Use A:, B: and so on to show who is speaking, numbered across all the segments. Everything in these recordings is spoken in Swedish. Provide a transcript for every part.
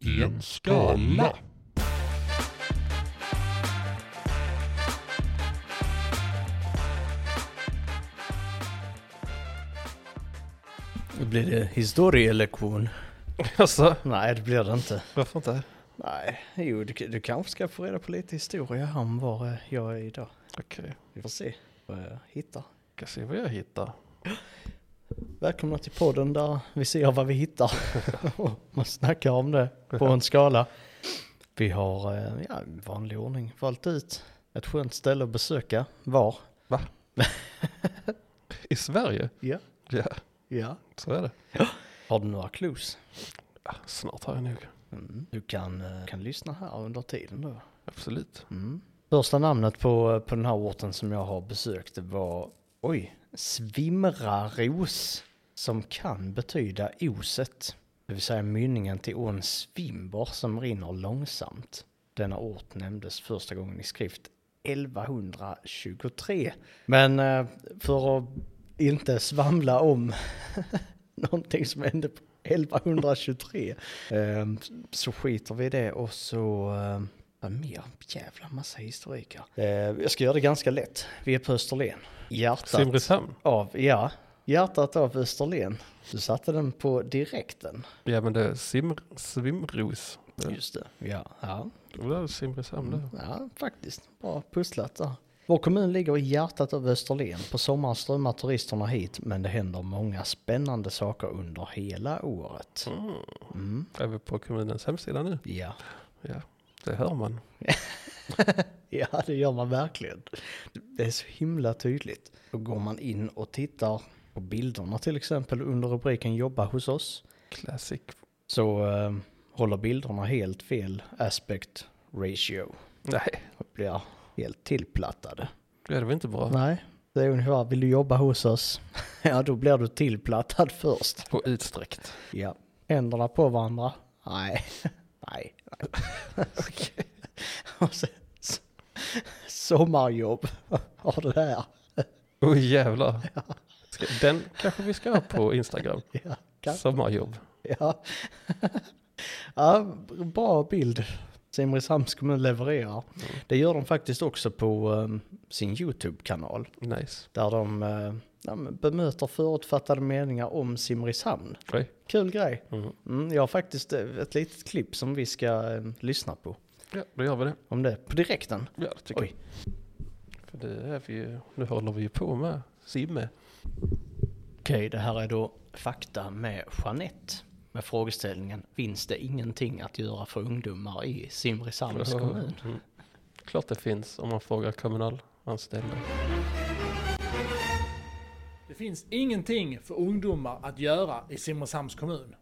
A: i en skala.
B: Blir det historielektion?
C: Alltså,
B: Nej, det blir det inte.
C: varför inte?
B: Nej, jo, du, du kanske ska få reda på lite historia om var eh, jag är idag.
C: Okej,
B: Vi får se vad jag hittar.
C: ska se vad jag hittar.
B: Välkomna till podden där vi ser vad vi hittar. Och Man snackar om det på en skala. Vi har eh, ja, i vanlig ordning valt ut ett skönt ställe att besöka. Var?
C: I Sverige?
B: Ja.
C: Ja,
B: ja.
C: så är det.
B: Har du några clues?
C: Ja, snart har jag nog.
B: Du kan, eh, kan lyssna här under tiden då.
C: Absolut.
B: Första namnet på, på den här orten som jag har besökt det var, oj, Svimraros. Som kan betyda oset. Det vill säga mynningen till ån Svimber som rinner långsamt. Denna ort nämndes första gången i skrift 1123. Men eh, för att inte svamla om någonting som hände på 1123 eh, så skiter vi i det och så eh, vad mer jävla massa historiker. Eh, jag ska göra det ganska lätt. Vi är på Österlen. Hjärtat
C: Simrishamn?
B: av, ja, hjärtat av Österlen. Du satte den på direkten.
C: Ja, men det är Simr- Svimros. Det
B: Just det. Ja, ja.
C: det Mm. var Simrishamn det.
B: Ja, faktiskt. Bra pusslat där. Vår kommun ligger i hjärtat av Österlen. På sommaren strömmar turisterna hit, men det händer många spännande saker under hela året. Mm,
C: Är vi på kommunens hemsida nu?
B: Ja.
C: Ja, det hör man.
B: ja, det gör man verkligen. Det är så himla tydligt. Då går man in och tittar på bilderna till exempel under rubriken jobba hos oss.
C: Classic.
B: Så eh, håller bilderna helt fel aspect ratio.
C: Nej,
B: Och blir helt tillplattade.
C: det är väl inte bra.
B: Nej, det är ungefär, vill du jobba hos oss? ja, då blir du tillplattad först.
C: Och utsträckt.
B: Ja. Händerna på varandra? Nej. Nej. nej. Och sen, s- sommarjobb har du här.
C: Åh oh, jävlar. Ska, den kanske vi ska ha på Instagram.
B: Ja, kan,
C: Sommarjobb.
B: ja. ja, bra bild. Simrishamns kommun levererar.
C: Mm.
B: Det gör de faktiskt också på eh, sin YouTube-kanal.
C: Nice.
B: Där de eh, ja, men bemöter förutfattade meningar om Simrishamn.
C: Oj.
B: Kul grej.
C: Mm.
B: Mm, jag har faktiskt eh, ett litet klipp som vi ska eh, lyssna på.
C: Ja, då gör vi det.
B: Om det, på direkten.
C: Ja, det tycker
B: Oj.
C: jag. För det är vi ju, nu håller vi ju på med simme.
B: Okej, det här är då fakta med Jeanette. Med frågeställningen, finns det ingenting att göra för ungdomar i Simrishamns kommun?
C: Mm. Klart det finns om man frågar kommunalanställda.
D: Det finns ingenting för ungdomar att göra i Simrishamns kommun.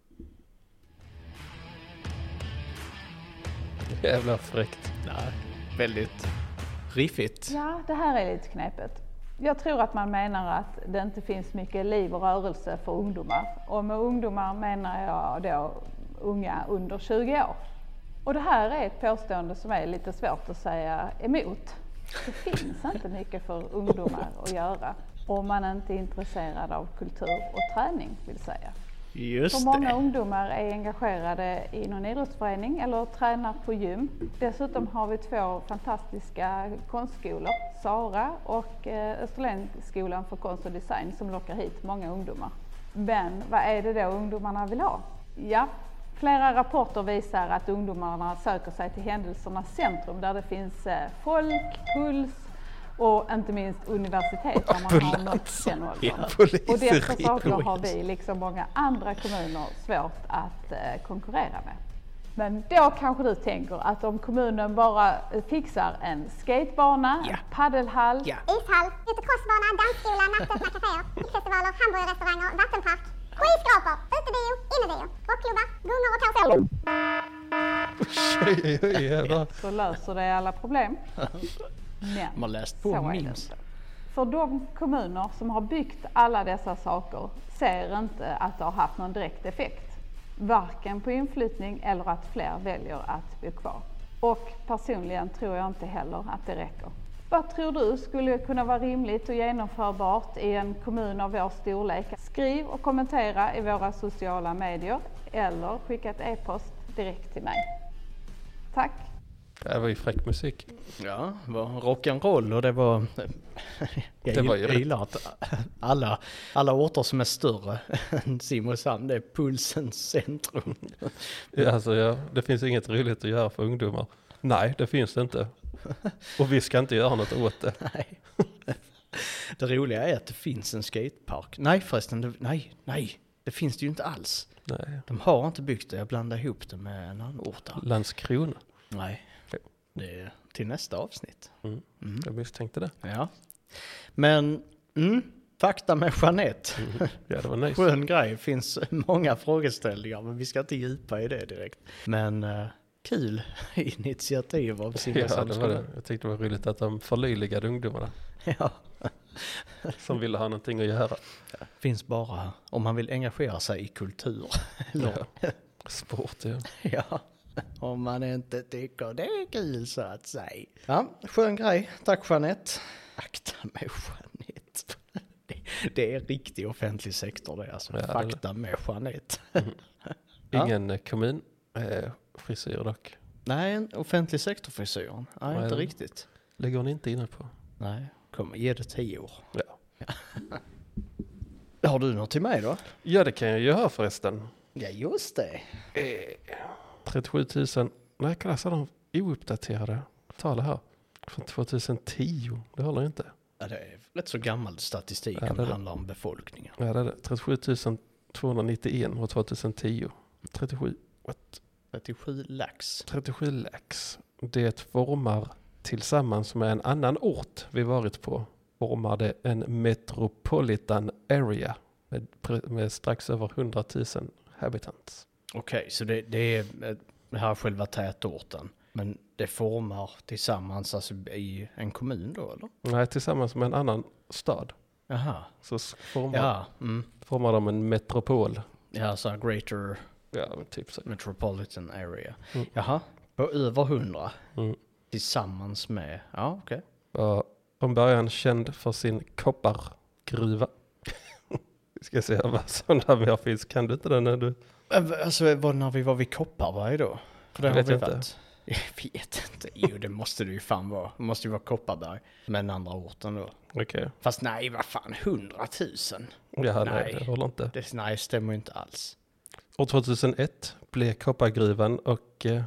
C: Jävla fräckt.
B: Nej, väldigt riffigt.
E: Ja, det här är lite knepigt. Jag tror att man menar att det inte finns mycket liv och rörelse för ungdomar. Och med ungdomar menar jag då unga under 20 år. Och det här är ett påstående som är lite svårt att säga emot. Det finns inte mycket för ungdomar att göra om man inte är intresserad av kultur och träning vill säga.
B: Just
E: Så många
B: det.
E: ungdomar är engagerade i någon idrottsförening eller tränar på gym. Dessutom har vi två fantastiska konstskolor, Sara och eh, Österlenskolan för konst och design som lockar hit många ungdomar. Men vad är det då ungdomarna vill ha? Ja, flera rapporter visar att ungdomarna söker sig till händelsernas centrum där det finns eh, folk, puls och inte minst universitet där man har nått den åldern. Och dessa saker har vi, liksom många andra kommuner, svårt att eh, konkurrera med. Men då kanske du tänker att om kommunen bara fixar en skatebana, en paddelhall,
F: ishall, utekrossbana, dansskola, nattöppna kaféer, festivaler, hamburgerrestauranger, vattenpark, skyskrapor, utebio, innebio, rockklubbar, gungor och karusell.
C: Oj, oj, jävlar.
E: så löser det alla problem. Men
B: Man har läst på
E: så är det
B: memes.
E: inte. För de kommuner som har byggt alla dessa saker ser inte att det har haft någon direkt effekt. Varken på inflyttning eller att fler väljer att bo kvar. Och personligen tror jag inte heller att det räcker. Vad tror du skulle kunna vara rimligt och genomförbart i en kommun av vår storlek? Skriv och kommentera i våra sociala medier eller skicka ett e-post direkt till mig. Tack!
C: Det var ju fräck musik.
B: Ja, det var rock'n'roll och det var... Jag
C: Det var ju
B: gill-
C: rätt.
B: gillar att alla, alla orter som är större än Simrishamn, det är pulsens centrum.
C: Ja, Alltså, ja, det finns inget roligt att göra för ungdomar. Nej, det finns det inte. Och vi ska inte göra något åt det.
B: Nej. Det roliga är att det finns en skatepark. Nej förresten, det, nej, nej, det finns det ju inte alls.
C: Nej.
B: De har inte byggt det, jag blandar ihop det med en annan ort där.
C: Landskrona.
B: Nej, det är till nästa avsnitt.
C: Jag misstänkte det.
B: Ja. Men, mm, fakta med Jeanette.
C: Ja, det var nice.
B: Skön grej, finns många frågeställningar men vi ska inte djupa i det direkt. Men eh, kul initiativ av
C: Ja,
B: Simrishamns
C: det var det.
B: kommun.
C: Jag tyckte det var roligt att de förlöjligade ungdomarna
B: Ja,
C: som ville ha någonting att göra.
B: finns bara om man vill engagera sig i kultur. Eller,
C: Sport, ja.
B: ja. Om man inte tycker det är kul så att säga. Ja, skön grej. Tack Jeanette. Akta mig Jeanette. Det- Det är riktig offentlig sektor det alltså.
C: Ja, det är Mm. det.
B: Fakta med Jeanette. Ja.
C: Ingen eh, kommun. Eh, frisyr dock.
B: Nej, en offentlig sektor-frisyren. Nej,
C: Nej,
B: inte
C: den-
B: riktigt.
C: Lägger hon inte inne på.
B: Nej, kom, ge det tio år.
C: Ja.
B: Har du något till mig då?
C: ja, det kan jag göra förresten.
B: Ja, just det.
C: 37 000. Nej, kolla så har de ouppdaterade tal här. Från 2010. Det håller ju inte.
B: Ja, det är rätt så gammal statistik
C: Ja,
B: när
C: det är
B: det
C: det.
B: handlar om befolkningen.
C: Ja, det är det. 37 291 och 2010. 37, what?
B: 37 lax.
C: 37 lax. Det formar tillsammans med en annan ort vi varit på formar det en metropolitan area med, pre- med strax över 100 000 habitants.
B: Okej, så det, det är eh, det här är själva tätorten. Men det formar tillsammans alltså, i en kommun då, eller?
C: Nej, tillsammans med en annan stad
B: Jaha.
C: så s- formar,
B: Ja, mm.
C: formar de en metropol.
B: ja så här greater
C: Ja, men typ så.
B: metropolitan area.
C: Mm.
B: Jaha, på över 100
C: Mm.
B: tillsammans med, ja okej.
C: var från början känd för sin koppargruva. Vi ska se vad sådana mer finns. Kan du inte den? När du...
B: Äh, Alltså var det när vi var vid Kopparberg då? För det
C: Jag
B: har
C: vet
B: vi
C: inte.
B: varit. Jag vet inte. Jo, det måste det ju fan vara. Det måste ju vara Kopparberg. Men andra orten då.
C: Okej.
B: Fast nej, vad fan, 100 000?
C: Ja, nej.
B: Nej.
C: det håller inte.
B: Det, nej, stämmer ju inte alls.
C: År 2001 blev koppargruvan och eh,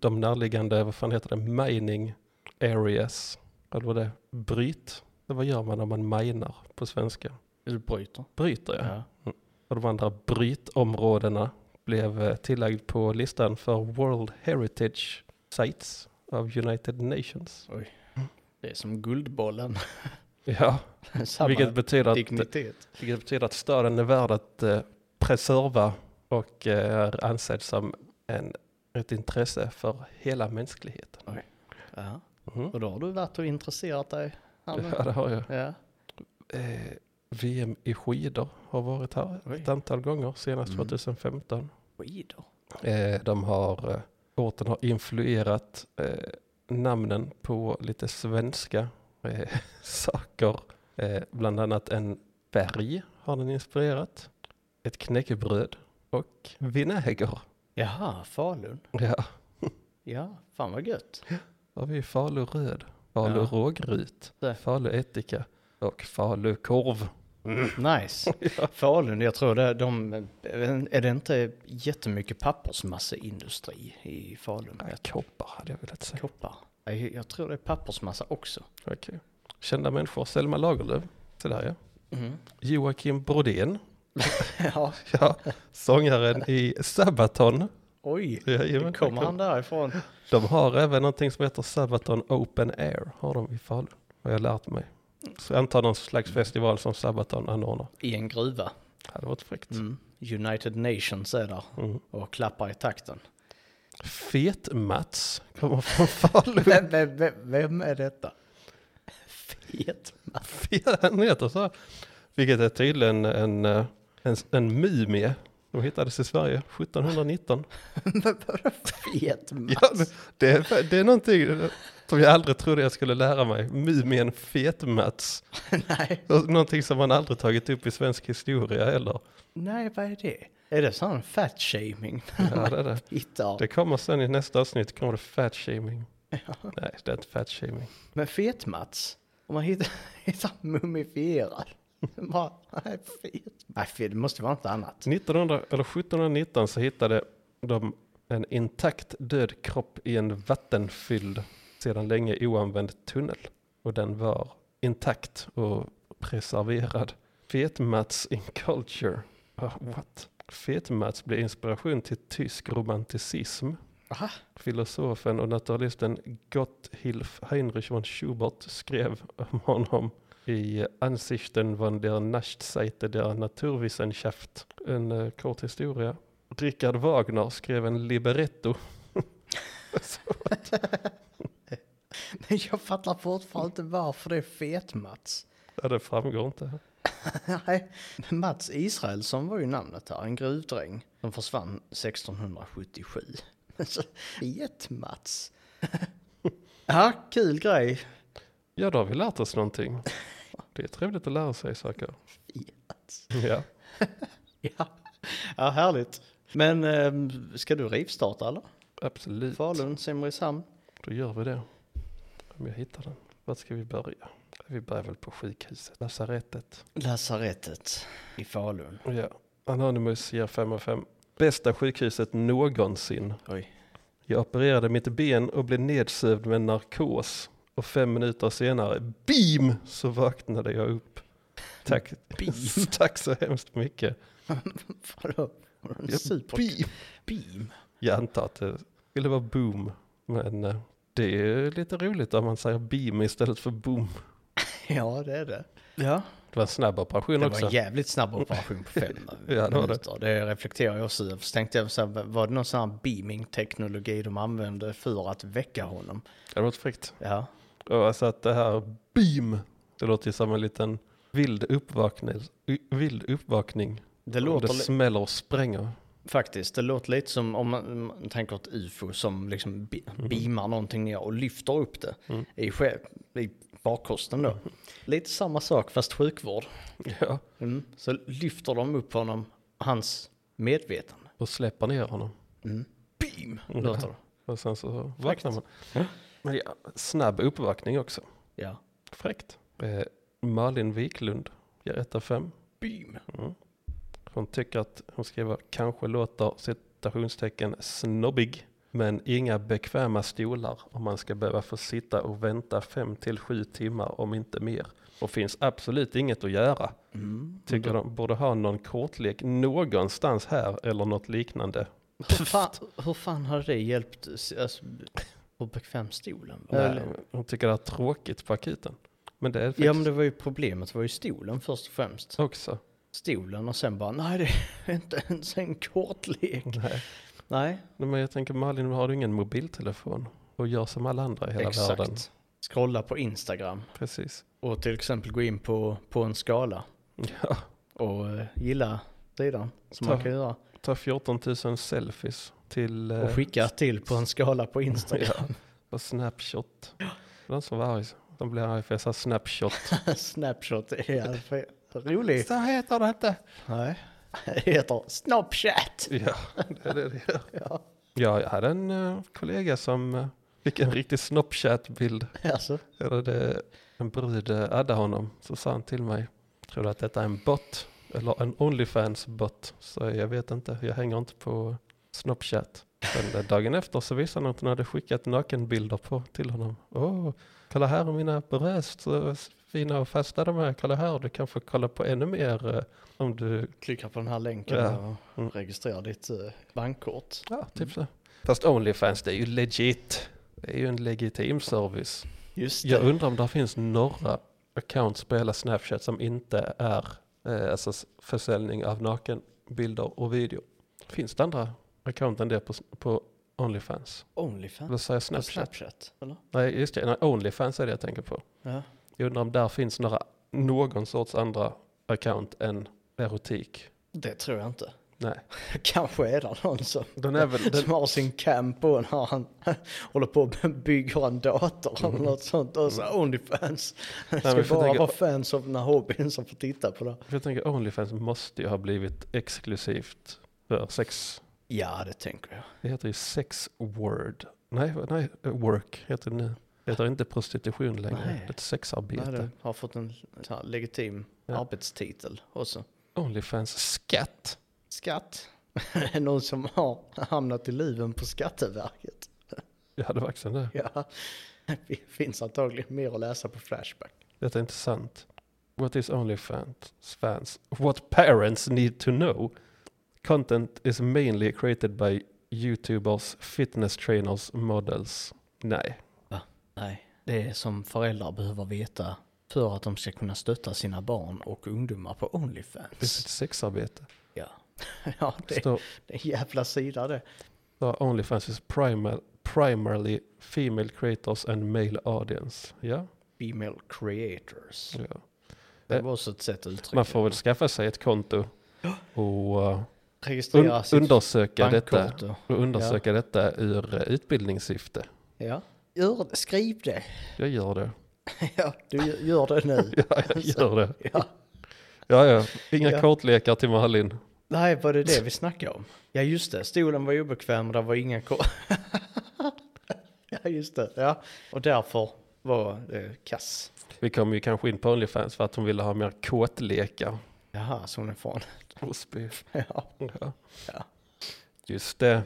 C: de närliggande, vad fan heter det, mining areas. Eller vad det bryt. Det vad gör man när man minar på svenska?
B: Du bryter.
C: Bryter ja.
B: Ja.
C: Och de andra brytområdena blev eh, tillagd på listan för World Heritage Sites av United Nations.
B: Det är som Guldbollen.
C: Ja,
B: Samma
C: vilket betyder, att,
B: dignitet.
C: vilket betyder att staden är värd att eh, preserva och eh, är ansedd som en, ett intresse för hela mänskligheten.
B: Ja.
C: Mhm.
B: Och då har du varit och intresserat dig. Anna.
C: Ja, det har jag.
B: Ja.
C: Eh, VM i skidor har varit här
B: Oj.
C: ett antal gånger, senast
B: Mm.
C: 2015.
B: Skidor.
C: Eh, de har, eh, orten har influerat eh, namnen på lite svenska eh, saker. Eh, bland annat en färg har den inspirerat. Ett knäckebröd och vinäger.
B: Jaha, Falun.
C: Ja,
B: Ja, fan vad gött.
C: har vi Falu röd, Falu
B: Ja.
C: rågryt,
B: Det.
C: Falu ättika och Falu korv.
B: Nice. Falun, jag tror det, de, är det inte jättemycket pappersmasseindustri i Falun?
C: Nej, Koppar hade jag velat säga.
B: Koppar. Jag, jag tror det är pappersmassa också.
C: Okej. Kända människor, Selma Lagerlöf. Så där ja. Joakim Brodén.
B: Ja,
C: Ja, sångaren i Sabaton.
B: oj.
C: Jajamän,
B: Kommer han därifrån?
C: De har även någonting som heter Sabaton Open Air, har de i Falun. Har jag lärt mig. Så jag antar någon slags festival som Sabaton anordnar.
B: I en gruva.
C: Det hade varit fräckt.
B: Mm. United Nations är där
C: Mm.
B: och klappar i takten.
C: Fet-Mats kommer från Falun.
B: Vem, vem, vem, vem är detta? Fet.
C: Fet- Han heter så. här. Vilket är tydligen eh, en, en, en, en mumie De hittades i Sverige 1719.
B: Fet
C: Ja,
B: Mats.
C: det- det, är, det är någonting som jag aldrig trodde jag skulle lära mig. Mumien Fet-Mats.
B: Nej.
C: Någonting som man aldrig tagit upp i svensk historia heller.
B: Nej, vad är det? Är det sån fat-shaming?
C: Ja, det, är det.
B: Hittar.
C: det kommer sen i nästa avsnitt, kommer det fat-shaming. Nej, det är inte fat-shaming.
B: Men fet-Mats, om man hittar, hittar mumifierad. Bara, nej, fet. Nej, fet, det måste vara något annat.
C: 1900, eller 1719 så hittade de en intakt död kropp i en vattenfylld, sedan länge oanvänd tunnel. Och den var intakt och preserverad. Fet-Mats in culture. Ah, what? Fet-Mats blev inspiration till tysk romanticism.
B: Aha.
C: Filosofen och naturalisten Gotthilf Heinrich von Schubert skrev om honom i Ansichten von der Nachtseite der Naturwissenschaft. En eh, kort historia. Richard Wagner skrev en libretto.
B: Men jag fattar fortfarande inte varför det är fet-Mats.
C: Ja, det framgår inte.
B: Nej, Mats Israelsson var ju namnet här, en gruvdräng som försvann 1677. Så, Fet-Mats. Ja, kul grej.
C: Ja, då har vi lärt oss någonting. Det är trevligt att lära sig saker.
B: Fet.
C: Ja.
B: Ja. ja, härligt. Men ehm, ska du rivstarta eller?
C: Absolut.
B: Falun, Simrishamn?
C: Då gör vi det. Om jag hittar den. Vart ska vi börja? Vi börjar väl på sjukhuset, lasarettet.
B: Lasarettet i Falun.
C: Ja. Anonymous ger 5 av 5. Bästa sjukhuset någonsin.
B: Oj.
C: Jag opererade mitt ben och blev nedsövd med narkos. Och fem minuter senare, BEAM! Så vaknade jag upp. Tack, tack så hemskt mycket.
B: Vadå? Var det en
C: Ja,
B: Super...
C: beam.
B: Beam?
C: Jag antar att det skulle vara boom. Men eh, det är lite roligt om man säger beam istället för boom.
B: Ja, det är det. Ja.
C: Det var en snabb operation
B: Det var
C: också.
B: en jävligt snabb operation på fem
C: Ja, det var det.
B: minuter. Det reflekterar jag också över. Så tänkte jag, så här, var det någon sån här beaming-teknologi de använde för att väcka honom?
C: Det låter fräckt.
B: Ja,
C: Och alltså att det här beam, det låter ju som en liten vild uppvakning. Vild uppvakning.
B: det
C: Och
B: låter
C: det
B: li-
C: smäller och spränger.
B: faktiskt. Det låter lite som om man, man tänker ett ufo som liksom bi-
C: Mm.
B: beamar någonting ner och lyfter upp det i, ske- i bakkosten då. Lite samma sak fast sjukvård.
C: Ja.
B: Mm. Så lyfter de upp honom, hans medvetande.
C: Och släpper ner honom.
B: Mm. Beam
C: Mm.
B: låter det.
C: Och sen så vaknar man. Men ja, snabb uppvakning också.
B: Ja,
C: Fräckt. Eh, Malin Wiklund ger 1 av 5.
B: beam.
C: Hon tycker att hon skriver kanske låter citationstecken snobbig. Men inga bekväma stolar om man ska behöva få sitta och vänta fem till sju timmar om inte mer. Och finns absolut inget att göra.
B: Mm.
C: Tycker de borde ha någon kortlek någonstans här eller något liknande.
B: Hur fan, hur fan har det hjälpt alltså, hur bekväm stolen var?
C: Nej,
B: Eller-
C: Eh, hon tycker det är tråkigt på akuten. Men det är faktiskt
B: Ja men det var ju problemet, var ju stolen först och främst.
C: också.
B: Stolen och sen bara, nej det är inte ens en kortlek.
C: Nej.
B: Nej,
C: Men jag tänker Malin, har du ingen mobiltelefon? Och gör som alla andra i hela
B: exakt.
C: världen.
B: Scrolla på Instagram
C: Precis.
B: och till exempel gå in på, på en skala
C: Ja.
B: och eh, gilla sidan som
C: Ta-
B: man kan göra.
C: Ta 14 000 selfies till
B: Och
C: eh,
B: skicka till på en skala på Instagram.
C: på Snapshot. Den som var arg, de blir arg för jag sa Snapshot.
B: Snapshot är för rolig.
C: Så heter det inte.
B: Nej, det heter Snapchat.
C: Ja, det är det det gör.
B: Ja,
C: Ja, jag hade en eh, kollega som eh, fick en riktig Snapchat-bild.
B: alltså.
C: Eller det, en brud eh, addade honom, så sa han till mig, tror du att detta är en bot? Eller en Onlyfans-bot? Så jag vet inte, jag hänger inte på Snapchat. Men eh, dagen efter så visade han att hon hade skickat nakenbilder på, till honom. Åh, kolla här mina bröst, så fina och fasta de är. Kolla här, du kan få kolla på ännu mer eh, om du,
B: Klicka på den här länken
C: Ja. Mm.
B: och registrera ditt eh, bankkort.
C: ja, typ så. Fast Onlyfans, det är ju legit. Det är ju en legitim service.
B: Just det.
C: Jag undrar om det finns några accounts på hela Snapchat som inte är eh, alltså s- försäljning av nakenbilder och video. Finns det andra account än det på, s- på Onlyfans?
B: Onlyfans?
C: Eller sa jag
B: På
C: Snapchat?
B: Snapchat? Eller?
C: Nej, just det. Nej, Onlyfans är det jag tänker på.
B: Ja.
C: Jag undrar om där finns några, någon sorts andra account än erotik.
B: Det tror jag inte.
C: Nej.
B: Kanske är det någon som,
C: Den är väl,
B: som
C: den,
B: har sin camp på när han håller på och bygger en dator eller något sånt. Och så Onlyfans. Det
C: Mm. men
B: ska
C: jag får
B: bara
C: tänka-
B: vara fans av den här hobbyn som får titta på det.
C: jag tänker Onlyfans måste ju ha blivit exklusivt för sex.
B: Ja, det tänker jag.
C: Det heter ju sex word. Nej, nej work heter det nu. Det heter inte prostitution längre.
B: Nej.
C: Det är ett sexarbete.
B: Nej, det har fått en så här, legitim
C: Ja.
B: arbetstitel också.
C: Onlyfans skatt.
B: Skatt. någon som har hamnat i luven på Skatteverket.
C: Jag hade verkligen det.
B: Ja, det finns antagligen mer att läsa på Flashback.
C: Detta är intressant. What is Onlyfans? Fans? What parents need to know? Content is mainly created by YouTubers, fitness trainers, models. Nej.
B: Nej, det är som föräldrar behöver veta för att de ska kunna stötta sina barn och ungdomar på
C: Det är ett
B: Onlyfans.
C: sexarbete.
B: Ja, ja det, det
C: Står
B: är en jävla sida det.
C: står Onlyfans is primal, primarily female creators and male audience. Ja.
B: Female creators.
C: ja.
B: Det var också ett sätt att uttrycka
C: Man får väl skaffa sig ett konto och uh,
B: det. Registrera
C: un-
B: sitt
C: undersöka detta.
B: bankkonto.
C: Och undersöka detta ur eh, utbildningssyfte.
B: Ja. Gör, skriv det.
C: Jag gör det.
B: Ja, du gör- gör det nu.
C: Ja, jag gör det.
B: Ja.
C: Ja, ja. Inga
B: Ja.
C: kortlekar till Malin.
B: Nej, var det det vi snackade om? Ja, just det. Stolen var obekväm och det var inga kor... ja, just det. Ja. Och därför var eh, det kass.
C: Vi kom ju kanske in på Onlyfans för att hon ville ha mer kåtlekar.
B: Jaha, så hon är från.
C: Osby.
B: Ja.
C: Ja.
B: Ja.
C: Just det.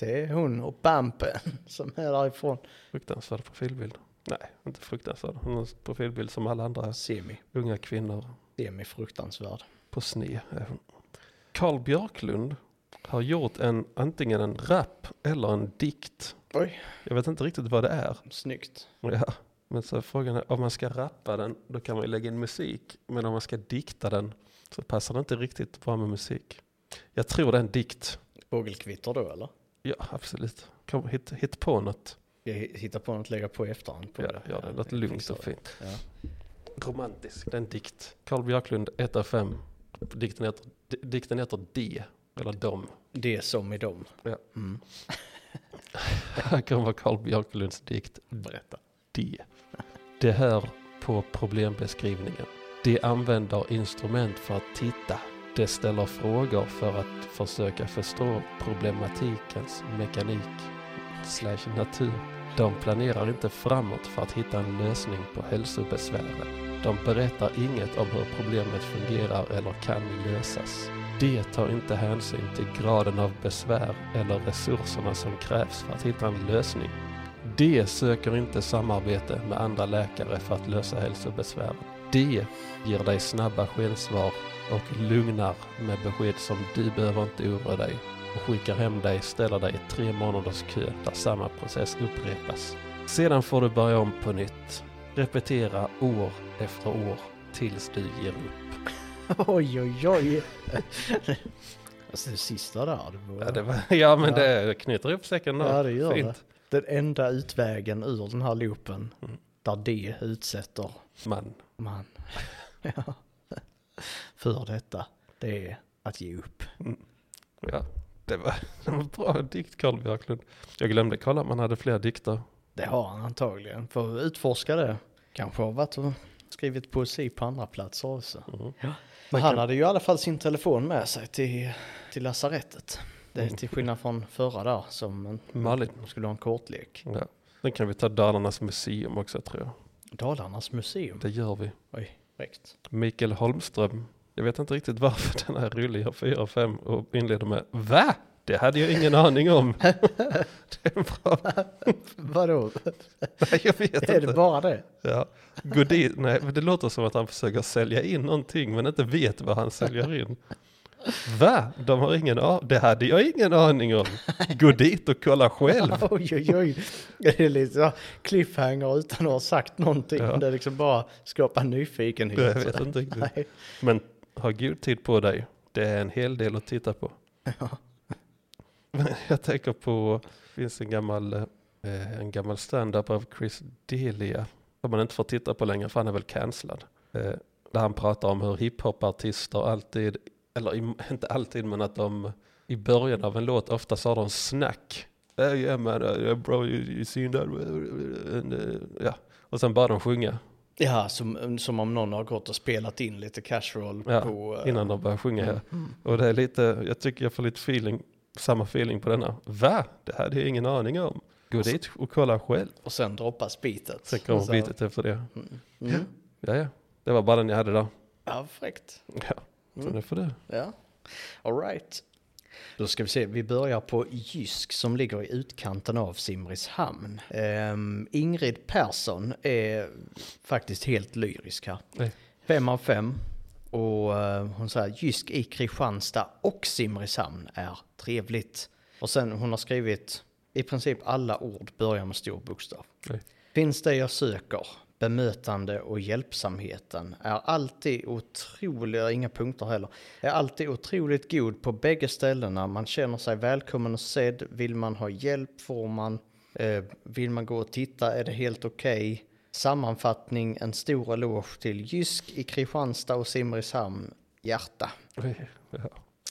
B: Det är hon och Bampen som är därifrån.
C: Fruktansvärda profilbilder. Nej, inte fruktansvärd. Hon har en profilbild som alla andra
B: Semi.
C: unga kvinnor
B: Semi fruktansvärd.
C: på sne. Carl Björklund har gjort en, antingen en rap eller en dikt.
B: Oj.
C: Jag vet inte riktigt vad det är.
B: Snyggt.
C: Ja, men så frågan är om man ska rappa den, då kan man ju lägga in musik. Men om man ska dikta den så passar det inte riktigt bra med musik. Jag tror det är en dikt.
B: Fågelkvitter då eller?
C: Ja, absolut. Kom, hit, hit på något.
B: Jag hittar på något att lägga på i efterhand på
C: Ja,
B: det.
C: ja, det låter
B: jag
C: lugnt
B: fixar
C: och fint.
B: Ja.
C: Romantisk. Det är en dikt. Carl Björklund, 1 av 5. Dikten heter, di- dikten heter D, eller Dom.
B: det. Det är som i dem.
C: Ja.
B: Mm.
C: Här kommer Carl Björklunds dikt
B: Berätta.
C: D. Det hör på problembeskrivningen. De använder instrument för att titta. De ställer frågor för att försöka förstå problematikens mekanik slash natur. De planerar inte framåt för att hitta en lösning på hälsobesvären. De berättar inget om hur problemet fungerar eller kan lösas. De tar inte hänsyn till graden av besvär eller resurserna som krävs för att hitta en lösning. De söker inte samarbete med andra läkare för att lösa hälsobesvär. De ger dig snabba skensvar och lugnar med besked som du behöver inte oroa dig och skickar hem dig, ställer dig i tre månaders kö där samma process upprepas. Sedan får du börja om på nytt. Repetera år efter år tills du ger upp.
B: Oj, oj, oj. alltså det sista där. Det var...
C: Ja, det var, ja men
B: Ja.
C: det knyter ihop säcken då.
B: Ja, det gör
C: Fint.
B: Den enda utvägen ur den här loopen
C: Mm.
B: där de utsätter
C: Man.
B: man ja. för detta, det är att ge upp.
C: Ja, det var det var en bra dikt Carl Björklund. Jag glömde kolla om han hade fler dikter.
B: Det har han antagligen. Får utforska det. Kanske har varit och skrivit poesi på andra platser också.
C: Mhm.
B: Ja. Men han hade ju i alla fall sin telefon med sig till, till lasarettet. Det
C: Mm.
B: är till skillnad från förra där som
C: Malin.
B: skulle ha en kortlek.
C: Ja. Sen kan vi ta Dalarnas museum också tror jag.
B: Dalarnas museum.
C: Det gör vi.
B: Oj, korrekt.
C: Mikael Holmström. Jag vet inte riktigt varför den här rullen gör 4 av 5 och inleder med VA? Det hade jag ingen aning om. det är bra.
B: Vadå?
C: Nej, jag vet
B: Är det
C: inte.
B: bara det?
C: Ja. Godin, nej, men det låter som att han försöker sälja in någonting men inte vet vad han säljer in. Va? De har ingen aning. Det hade jag ingen aning om. Gå dit och kolla själv.
B: Oj, oj, oj. Det är lite så här cliffhanger utan att ha sagt någonting.
C: Ja.
B: Det är liksom bara skapa nyfikenhet.
C: Jag vet inte riktigt.
B: Nej.
C: Men ha god tid på dig. Det är en hel del att titta på. Men jag tänker på, det finns en gammal, eh, en gammal stand-up av Chris Delia som man inte får titta på längre för han är väl cancellad. Eh, Där han pratar om hur hiphop-artister alltid eller i, inte alltid, men att de i början av en låt ofta sa de snack. Eh, Yeah man, uh, yeah, bro you, you seen that? And, uh, ja. Och sen började de sjunga
B: Ja, som, som om någon har gått och spelat in lite casual
C: Ja,
B: på... eh,
C: innan de började sjunga. ja. Och det är lite, jag tycker jag får lite feeling, samma feeling på denna. Va? Det hade jag ingen aning om. Gå dit och kolla själv.
B: Och sen droppas beatet.
C: Sen kommer
B: Så-
C: beatet efter det.
B: Mm.
C: Ja, ja. Det var bara den jag hade där.
B: Ja, fräckt.
C: Ja. Så det får du.
B: Ja. All right. Då ska vi se, vi börjar på Jysk som ligger i utkanten av Simrishamn. Ehm, Ingrid Persson är faktiskt helt lyrisk här.
C: Nej.
B: Fem av fem. Och eh, hon säger Jysk i Kristianstad och Simrishamn är trevligt. Och sen hon har skrivit i princip alla ord börjar med stor bokstav.
C: Nej.
B: Finns det jag söker? Bemötande och hjälpsamheten är alltid otroligt, jag har inga punkter heller, är alltid otroligt god på bägge ställena. Man känner sig välkommen och sedd. Vill man ha hjälp får man. Eh, vill man gå och titta är det helt okej. Sammanfattning, en stor eloge till Jysk i Kristianstad och Simrishamn. Hjärta.
C: Oj, Ja.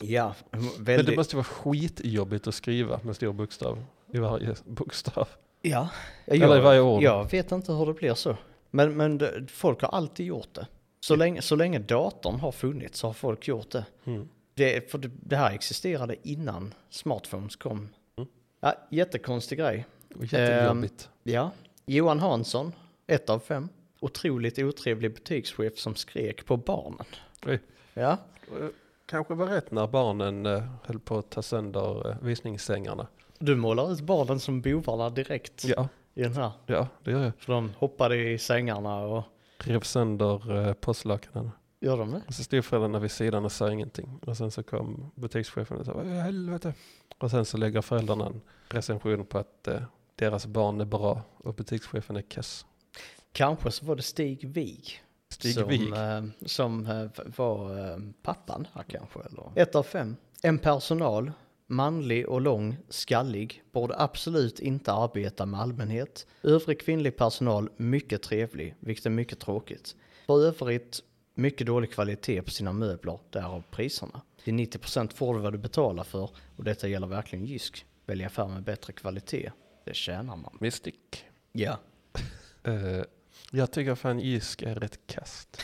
B: Ja,
C: Men det
B: väldigt.
C: måste ju vara skitjobbigt att skriva med stor bokstav i varje bokstav.
B: Ja.
C: Eller i varje ord.
B: Jag vet inte hur det blir så. Men, men det- folk har alltid gjort det. Så länge, så länge datorn har funnits så har folk gjort det.
C: Mm.
B: Det, för det, det här existerade innan smartphones kom.
C: Mm.
B: Ja, jättekonstig grej.
C: Och Jättejobbigt.
B: Ja. Johan Hansson, ett av fem. Otroligt otrevlig butikschef som skrek på barnen.
C: Oj.
B: Ja,
C: Eh, Kanske var rätt när barnen eh, höll på att ta sönder eh, visningssängarna.
B: du målar ut barnen som bovarna direkt
C: Ja,
B: i den här.
C: ja det gör jag.
B: För de hoppade i sängarna och
C: Rev sönder eh, postlakanen.
B: gör de det?
C: Och så stod föräldrarna vid sidan och sa ingenting. Och sen så kom butikschefen och sa "Vad i helvete. Och sen så lägger föräldrarna en recension på att eh, deras barn är bra och butikschefen är kass.
B: Kanske så var det Stig Wig.
C: Stig
B: som,
C: Wig.
B: eh, som eh, var eh, pappan här kanske. Eller? Ett av fem. En personal, manlig och lång, skallig, borde absolut inte arbeta med allmänhet. Övrig kvinnlig personal, mycket trevlig, vilket är mycket tråkigt. För övrigt, mycket dålig kvalitet på sina möbler, därav priserna. Till 90% får du vad du betalar för och detta gäller verkligen Jysk. Välj affär med bättre kvalitet, det tjänar man.
C: Mystic.
B: Ja.
C: Eh, jag tycker fan Jysk är rätt kast.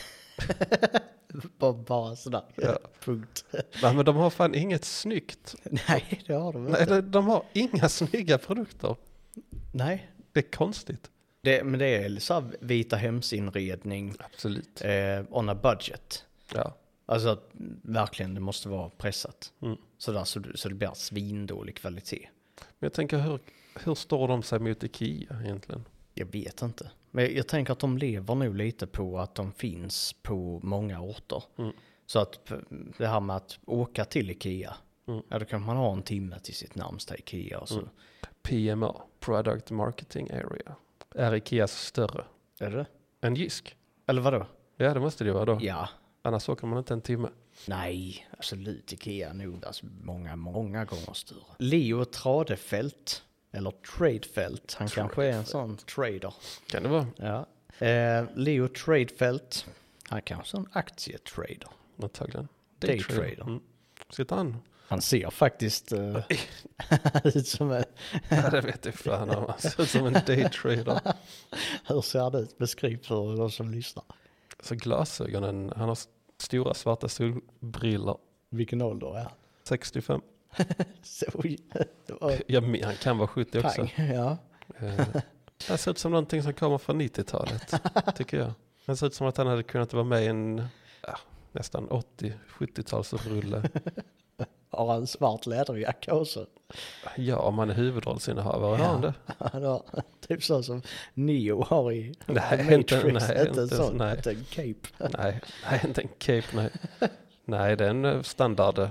B: Bara, bara sådär.
C: Ja.
B: Punkt.
C: Nej men de har fan inget snyggt.
B: Nej, det har de inte.
C: Nej, de- de har inga snygga produkter.
B: Nej.
C: Det är konstigt.
B: Det, men det är så här vita hemsinredning
C: Absolut.
B: eh, on a budget.
C: Ja.
B: Alltså att verkligen, det måste vara pressat.
C: Mm.
B: Sådär, så, du- så det blir svindålig kvalitet.
C: Men jag tänker hur, hur står de sig mot Ikea egentligen?
B: Jag vet inte. Men jag tänker att de lever nog lite på att de finns på många orter.
C: Mm.
B: Så att p- det här med att åka till Ikea,
C: Mm.
B: ja, då kan man ha en timme till sitt närmsta Ikea. Och så.
C: Mm. PMA, Product Marketing Area, är Ikeas större
B: Är det det?
C: än Jysk.
B: Eller vadå?
C: Ja, det måste det ju vara då.
B: Ja.
C: Annars åker man inte en timme.
B: Nej, absolut. Ikea är nog alltså många, många gånger större. Leo Tradefelt, eller Tradefelt, han kanske är en sån trader.
C: Kan det vara?
B: Ja. Eh, Leo Tradefelt, han kanske är en aktietrader.
C: Antagligen.
B: Daytrader.
C: Mm. Sitter han?
B: Han ser faktiskt eh, ut som en,
C: Ja, det vet jag fan om. Han ser ut som en daytrader.
B: hur ser han ut? Beskriv för de som lyssnar.
C: Så glasögonen, han har s- stora svarta solbrillor.
B: Vilken ålder är han?
C: 65.
B: Så, det var
C: Ja, men han kan vara 70 också.
B: pang, ja.
C: Eh, Han ser ut som någonting som kommer från 90-talet, tycker jag. Han ser ut som att han hade kunnat vara med i en ja, nästan 80-70-talsrulle.
B: Har han svart läderjacka också?
C: Ja, om han är huvudrollsinnehavare, har han det?
B: Han har typ så som Neo har i
C: Nej, inte-
B: Matrix.
C: nej,
B: inte en
C: inte-
B: sån,
C: nej.
B: inte en cape.
C: Nej, nej inte en cape, nej. Nej, det är en eh, standard. eh.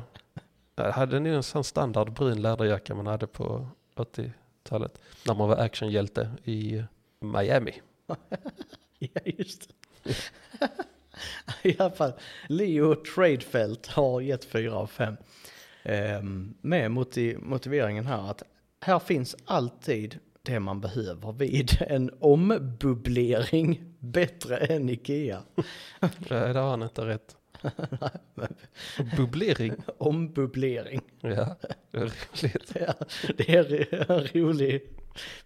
C: Jag hade nog en sån standard brun läderjacka man hade på 80-talet. När man var actionhjälte i Miami.
B: Ja, just det. I alla fall, Leo Tradefelt har gett 4 av 5. med moti- motiveringen här att här finns alltid det man behöver vid en ombubblering bättre än Ikea.
C: Nej, det har han inte rätt. Bubblering.
B: Ombubblering.
C: Ja, det är roligt.
B: Ja, det är en rolig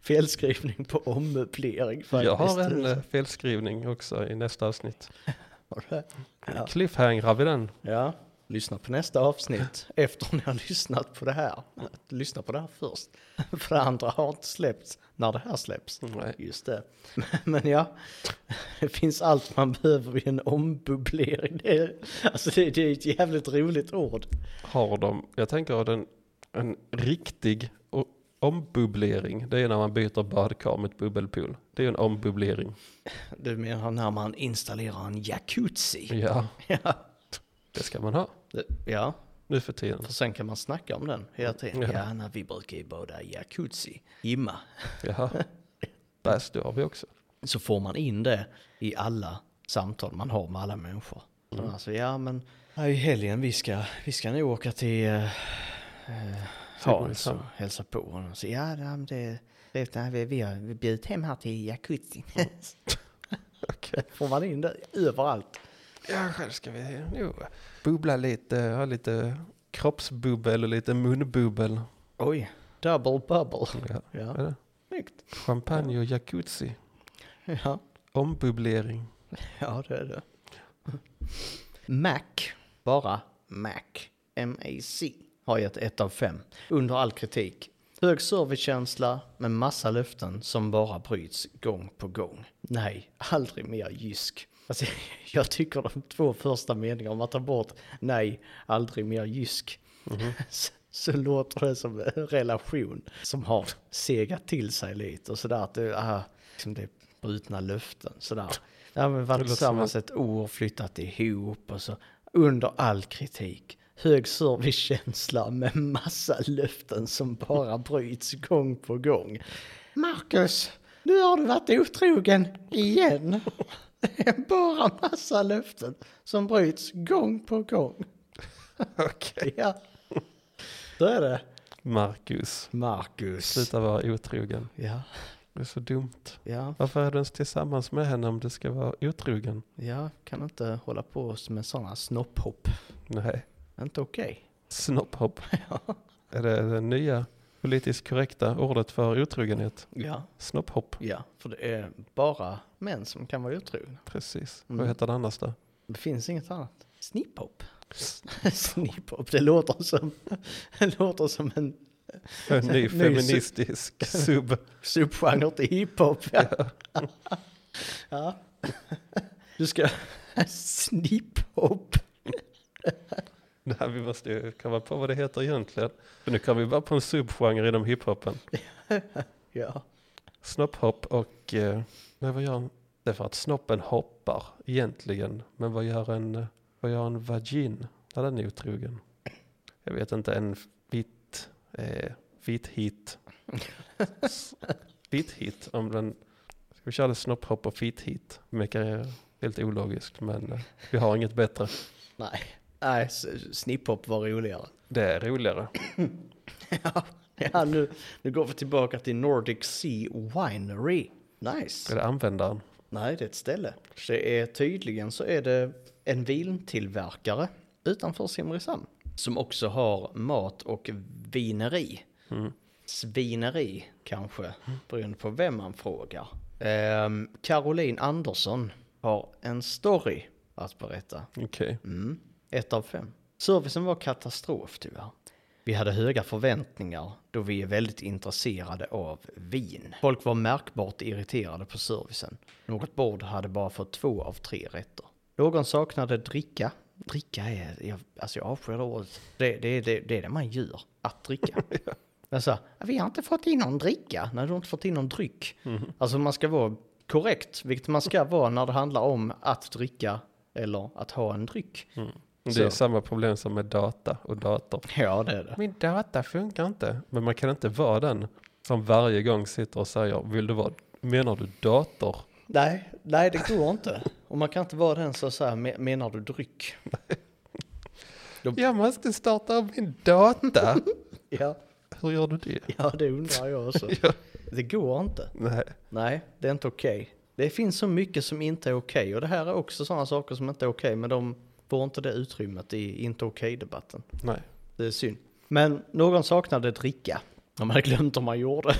B: felskrivning på ommöblering faktiskt.
C: Jag har en eh, felskrivning också i nästa avsnitt.
B: Har du det?
C: eh,
B: Ja.
C: Cliffhangrar vi den?
B: ja, lyssna på nästa avsnitt efter ni har lyssnat på det här. Lyssna på det här först. För det andra har inte släppts när det här släpps.
C: Nej.
B: Just det. Men ja, det finns allt man behöver i en ombubblering. Det är, alltså det, det är ett jävligt roligt ord.
C: Har de, jag tänker den, en riktig o- ombubblering, det är när man byter badkar mot bubbelpool. Det är en ombubblering.
B: Du menar när man installerar en jacuzzi?
C: Ja,
B: Ja,
C: det ska man ha
B: det- ja.
C: nu för tiden.
B: För sen kan man snacka om den hela tiden.
C: Ja.
B: Ja, när vi brukar ju bada i jacuzzi, gymma.
C: Jaha. Bastu har vi också.
B: Så får man in det i alla samtal man har med alla människor. Alltså, ja men, ja, i helgen vi ska, vi ska nog åka till eh, eh, Hans och
C: Simrishamn.
B: hälsa på honom. Så ja, nej, men det, det, nej, vi, vi har vi bjudit hem här till jacuzzin.
C: Okej.
B: får man in det överallt.
C: Ja, själv ska vi jo, bubbla lite, ha lite kroppsbubbel och lite munbubbel.
B: Oj, double bubble.
C: Ja.
B: Ja,
C: är det?
B: snyggt.
C: Champagne och jacuzzi.
B: Ja.
C: Ombubblering.
B: Ja, det är det. Mac, bara Mac, M-A-C, har gett ett av fem under all kritik. Hög servicekänsla med massa löften som bara bryts gång på gång. Nej, aldrig mer jysk. Alltså, jag tycker de två första meningarna, man tar bort nej, aldrig mer jysk, så, så låter det som en relation som har segat till sig lite och sådär. Att det, ah, liksom det är brutna löften sådär. Ja, men varit
C: Det låter
B: tillsammans ett år, flyttat ihop och så. Under all kritik. Hög servicekänsla med massa löften som bara bryts gång på gång. Marcus, nu har du varit otrogen igen. Det är bara massa löften som bryts gång på gång. Okej. Ja. Så är det.
C: Marcus,
B: Marcus.
C: sluta vara otrogen.
B: Ja,
C: Det är så dumt.
B: ja,
C: Varför är du ens tillsammans med henne om du ska vara otrogen?
B: jag kan inte hålla på med sådana snopphopp.
C: Nej,
B: Inte okej.
C: snopphopp. Är det det nya politiskt korrekta ordet för otrogenhet?
B: Ja.
C: Snopphopp,
B: Ja, för det är bara män som kan vara otrogna.
C: precis.
B: Mm.
C: Vad heter det annars då?
B: Det finns inget annat. Snipphopp. Snipphopp, det låter som, det låter som en
C: En ny
B: Ny su-
C: feministisk sub.
B: subgenre till hiphop. Ja. ja. Du ska... Snipphopp.
C: Nej, vi måste ju komma på vad det heter egentligen. För nu kan vi bara på en subgenre inom hiphopen.
B: Ja.
C: Snopphopp och... Eh, nej, vad gör en? Det är för att snoppen hoppar egentligen. Men vad gör en, eh, vad gör en vagin när den är otrogen? Jag vet inte, en vit... Eh, vit hit. S- vit hit, om den... Ska vi köra lite snopphopp och fit hit? Mycket är helt ologiskt, men eh, vi har inget bättre.
B: Nej. Nej, s- snipphopp var roligare.
C: Det är roligare.
B: Ja, nu, nu går vi tillbaka till Nordic Sea Winery. Nice.
C: Är det användaren?
B: Nej, det är ett ställe. Det är, tydligen så är det en vintillverkare utanför Simrishamn som också har mat och vineri. Svineri kanske, beroende på vem man frågar. Ehm, Caroline Andersson har en story att berätta.
C: Okej.
B: Mm. Ett av fem. Servicen var katastrof tyvärr. Vi hade höga förväntningar då vi är väldigt intresserade av vin. Folk var märkbart irriterade på servicen. Något bord hade bara fått två av tre rätter. Någon saknade dricka. Dricka är, jag, alltså jag avskyr det ordet. Det, det, det, det är det man gör, att dricka. Men så, här, vi har inte fått in någon dricka. Nej, du har inte fått in någon dryck. Alltså man ska vara korrekt, vilket man ska vara när det handlar om att dricka eller att ha en dryck.
C: Det
B: Så.
C: är samma problem som med data och dator.
B: Ja, det är det.
C: Min data funkar inte. Men man kan inte vara den som varje gång sitter och säger, vill du vara, menar du dator?
B: Nej, nej det går inte. Och man kan inte vara den som säger, "Me- menar du dryck?
C: Jag måste starta om min data.
B: Ja,
C: Hur gör du det?
B: ja det undrar jag också. Det går inte.
C: Nej,
B: Nej, det är inte okej. Det finns så mycket som inte är okej och det här är också sådana saker som inte är okej men de Får inte det utrymmet i inte okej-debatten.
C: Nej.
B: Det är synd. Men någon saknade dricka. De hade glömt om man gjorde.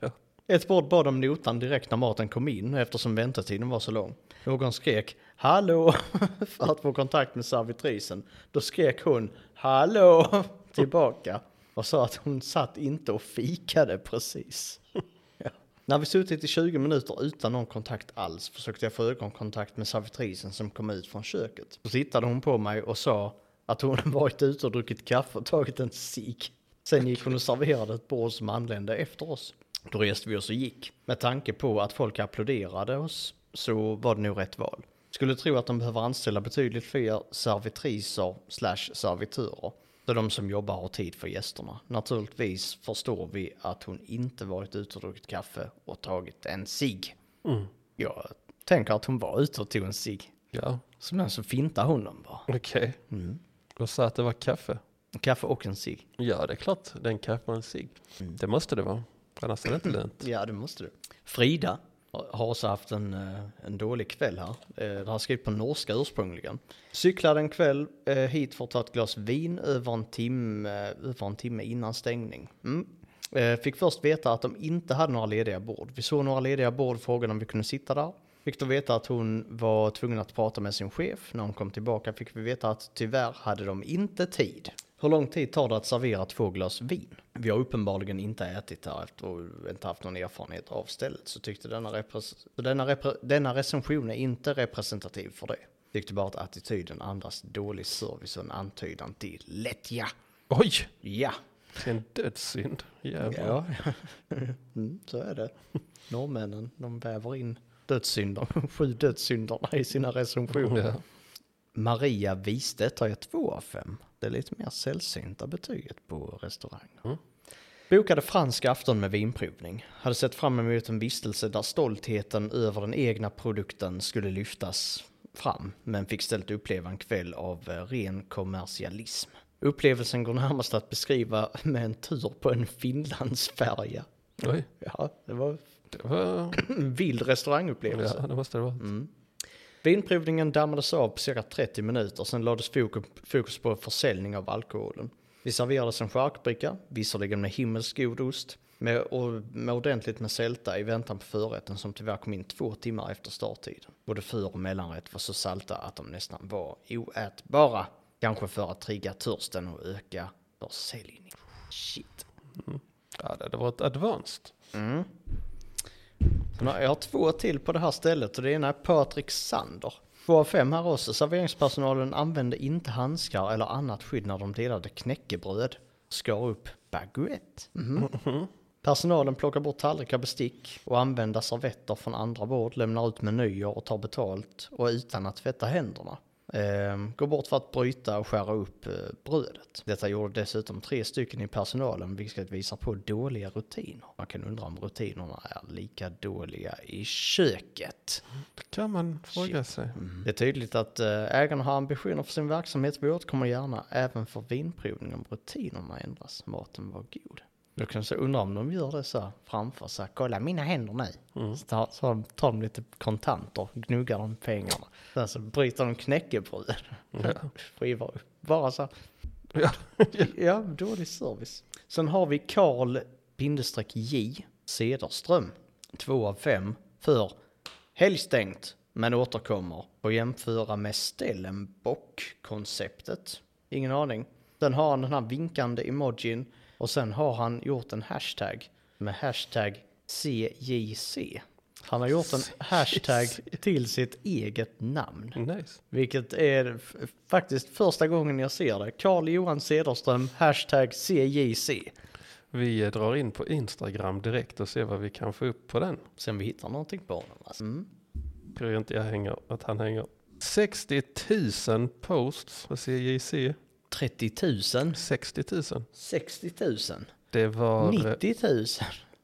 C: Ja.
B: Ett bord bad om notan direkt när maten kom in eftersom väntetiden var så lång. Någon skrek ”Hallå!” för att få kontakt med servitrisen. Då skrek hon ”Hallå!” tillbaka och sa att hon satt inte och fikade precis. Ja. När vi suttit i 20 minuter utan någon kontakt alls försökte jag få ögonkontakt med servitrisen som kom ut från köket. Då tittade hon på mig och sa att hon varit ute och druckit kaffe och tagit en cig. Sen gick hon och serverade ett bord som anlände efter oss. Då reste vi oss och gick. Med tanke på att folk applåderade oss så var det nog rätt val. Skulle tro att de behöver anställa betydligt fler servitriser slash servitörer. Då de som jobbar har tid för gästerna. Naturligtvis förstår vi att hon inte varit ute och druckit kaffe och tagit en cigg. Jag tänker att hon var ute och tog en cigg.
C: Ja,
B: Som den så fintar hon dem bara.
C: okej. Och sa att det var kaffe.
B: Kaffe och en cigg.
C: Ja, det är klart. Det är en kaffe och en cigg. Det måste det vara. Annars är det inte lönt.
B: Ja, det måste du. Frida har också haft en, eh, en dålig kväll här. Eh, Det har skrivit på norska ursprungligen. Cyklade en kväll eh, hit för att ta ett glas vin över en timme, över en timme innan stängning. Mm. Eh, Fick först veta att de inte hade några lediga bord. Vi såg några lediga bord och frågade om vi kunde sitta där. Fick då veta att hon var tvungen att prata med sin chef. När hon kom tillbaka fick vi veta att tyvärr hade de inte tid. Hur lång tid tar det att servera två glas vin? Vi har uppenbarligen inte ätit här efter och inte haft någon erfarenhet av stället. Så tyckte denna, repres- så denna, repre- denna recension är inte representativ för det. Tyckte bara att attityden andas dålig service och en antydan till lättja.
C: Oj!
B: Ja,
C: Det är en dödssynd. Jävlar.
B: ja. mm, så är det. Norrmännen, de väver in dödssynder, sju dödssynderna i sina recensioner.
C: Ja.
B: Maria Wistedt har jag två av fem. Det är lite mer sällsynta betyget på restauranger. Bokade fransk afton med vinprovning. Hade sett fram emot en vistelse där stoltheten över den egna produkten skulle lyftas fram, men fick ställt uppleva en kväll av eh, ren kommersialism. Upplevelsen går närmast att beskriva med en tur på en Finlandsfärja.
C: Oj,
B: Ja, det var
C: det var...
B: en vild restaurangupplevelse.
C: Ja, Mm. det måste det vara.
B: Vinprovningen dammades av på cirka 30 minuter, sen lades fokus, fokus på försäljning av alkoholen. Vi serverades en charkbricka, visserligen med himmelsk god ost, med, och med ordentligt med sälta i väntan på förrätten som tyvärr kom in två timmar efter starttiden. Både för och mellanrätt var så salta att de nästan var oätbara. Kanske för att trigga törsten och öka försäljningen. Shit.
C: Ja, det hade varit advanced.
B: Sen har- Jag har två till på det här stället och det ena är Patrik Sander. Två av fem här också. Serveringspersonalen använde inte handskar eller annat skydd när de delade knäckebröd. Skar upp baguette. Mhm. Personalen plockar bort tallrikar, bestick och använda servetter från andra bord, lämnar ut menyer och tar betalt och utan att tvätta händerna. Ehm, går bort för att bryta och skära upp eh, brödet. Detta gjorde dessutom tre stycken i personalen vilket visar på dåliga rutiner. Man kan undra om rutinerna är lika dåliga i köket.
C: Det kan man fråga sig.
B: Det är tydligt att eh, ägarna har ambitioner för sin verksamhet. Vi återkommer gärna även för vinprovning om rutinerna ändras. Maten var god. Då kan jag så undra om de gör det så här framför sig. Kolla mina händer nu. Så, tar, så tar de lite kontanter, gnuggar de pengarna. Sen så bryter de knäckebröd. Skivar upp. Bara så här.
C: Ja.
B: Ja, dålig service. Sen har vi Karl bindestreck J Cederström. Två av fem för helgstängt men återkommer och jämföra med Stellenbock-konceptet. Ingen aning. Sen har han den här vinkande emojin och sen har han gjort en hashtag med hashtag CJC. Han har gjort en hashtag till sitt eget namn.
C: Nice.
B: Vilket är f- faktiskt första gången jag ser det. Carl Johan Cederström, hashtag CJC.
C: Vi eh, drar in på Instagram direkt och ser vad vi kan få upp på den.
B: Sen vi hittar någonting på honom. Alltså. Mm.
C: Tror inte jag hänger, att han hänger. 60 000 posts på CJC.
B: 30 000,
C: 60 000.
B: 60 000,
C: Det var eh,
B: 90 000.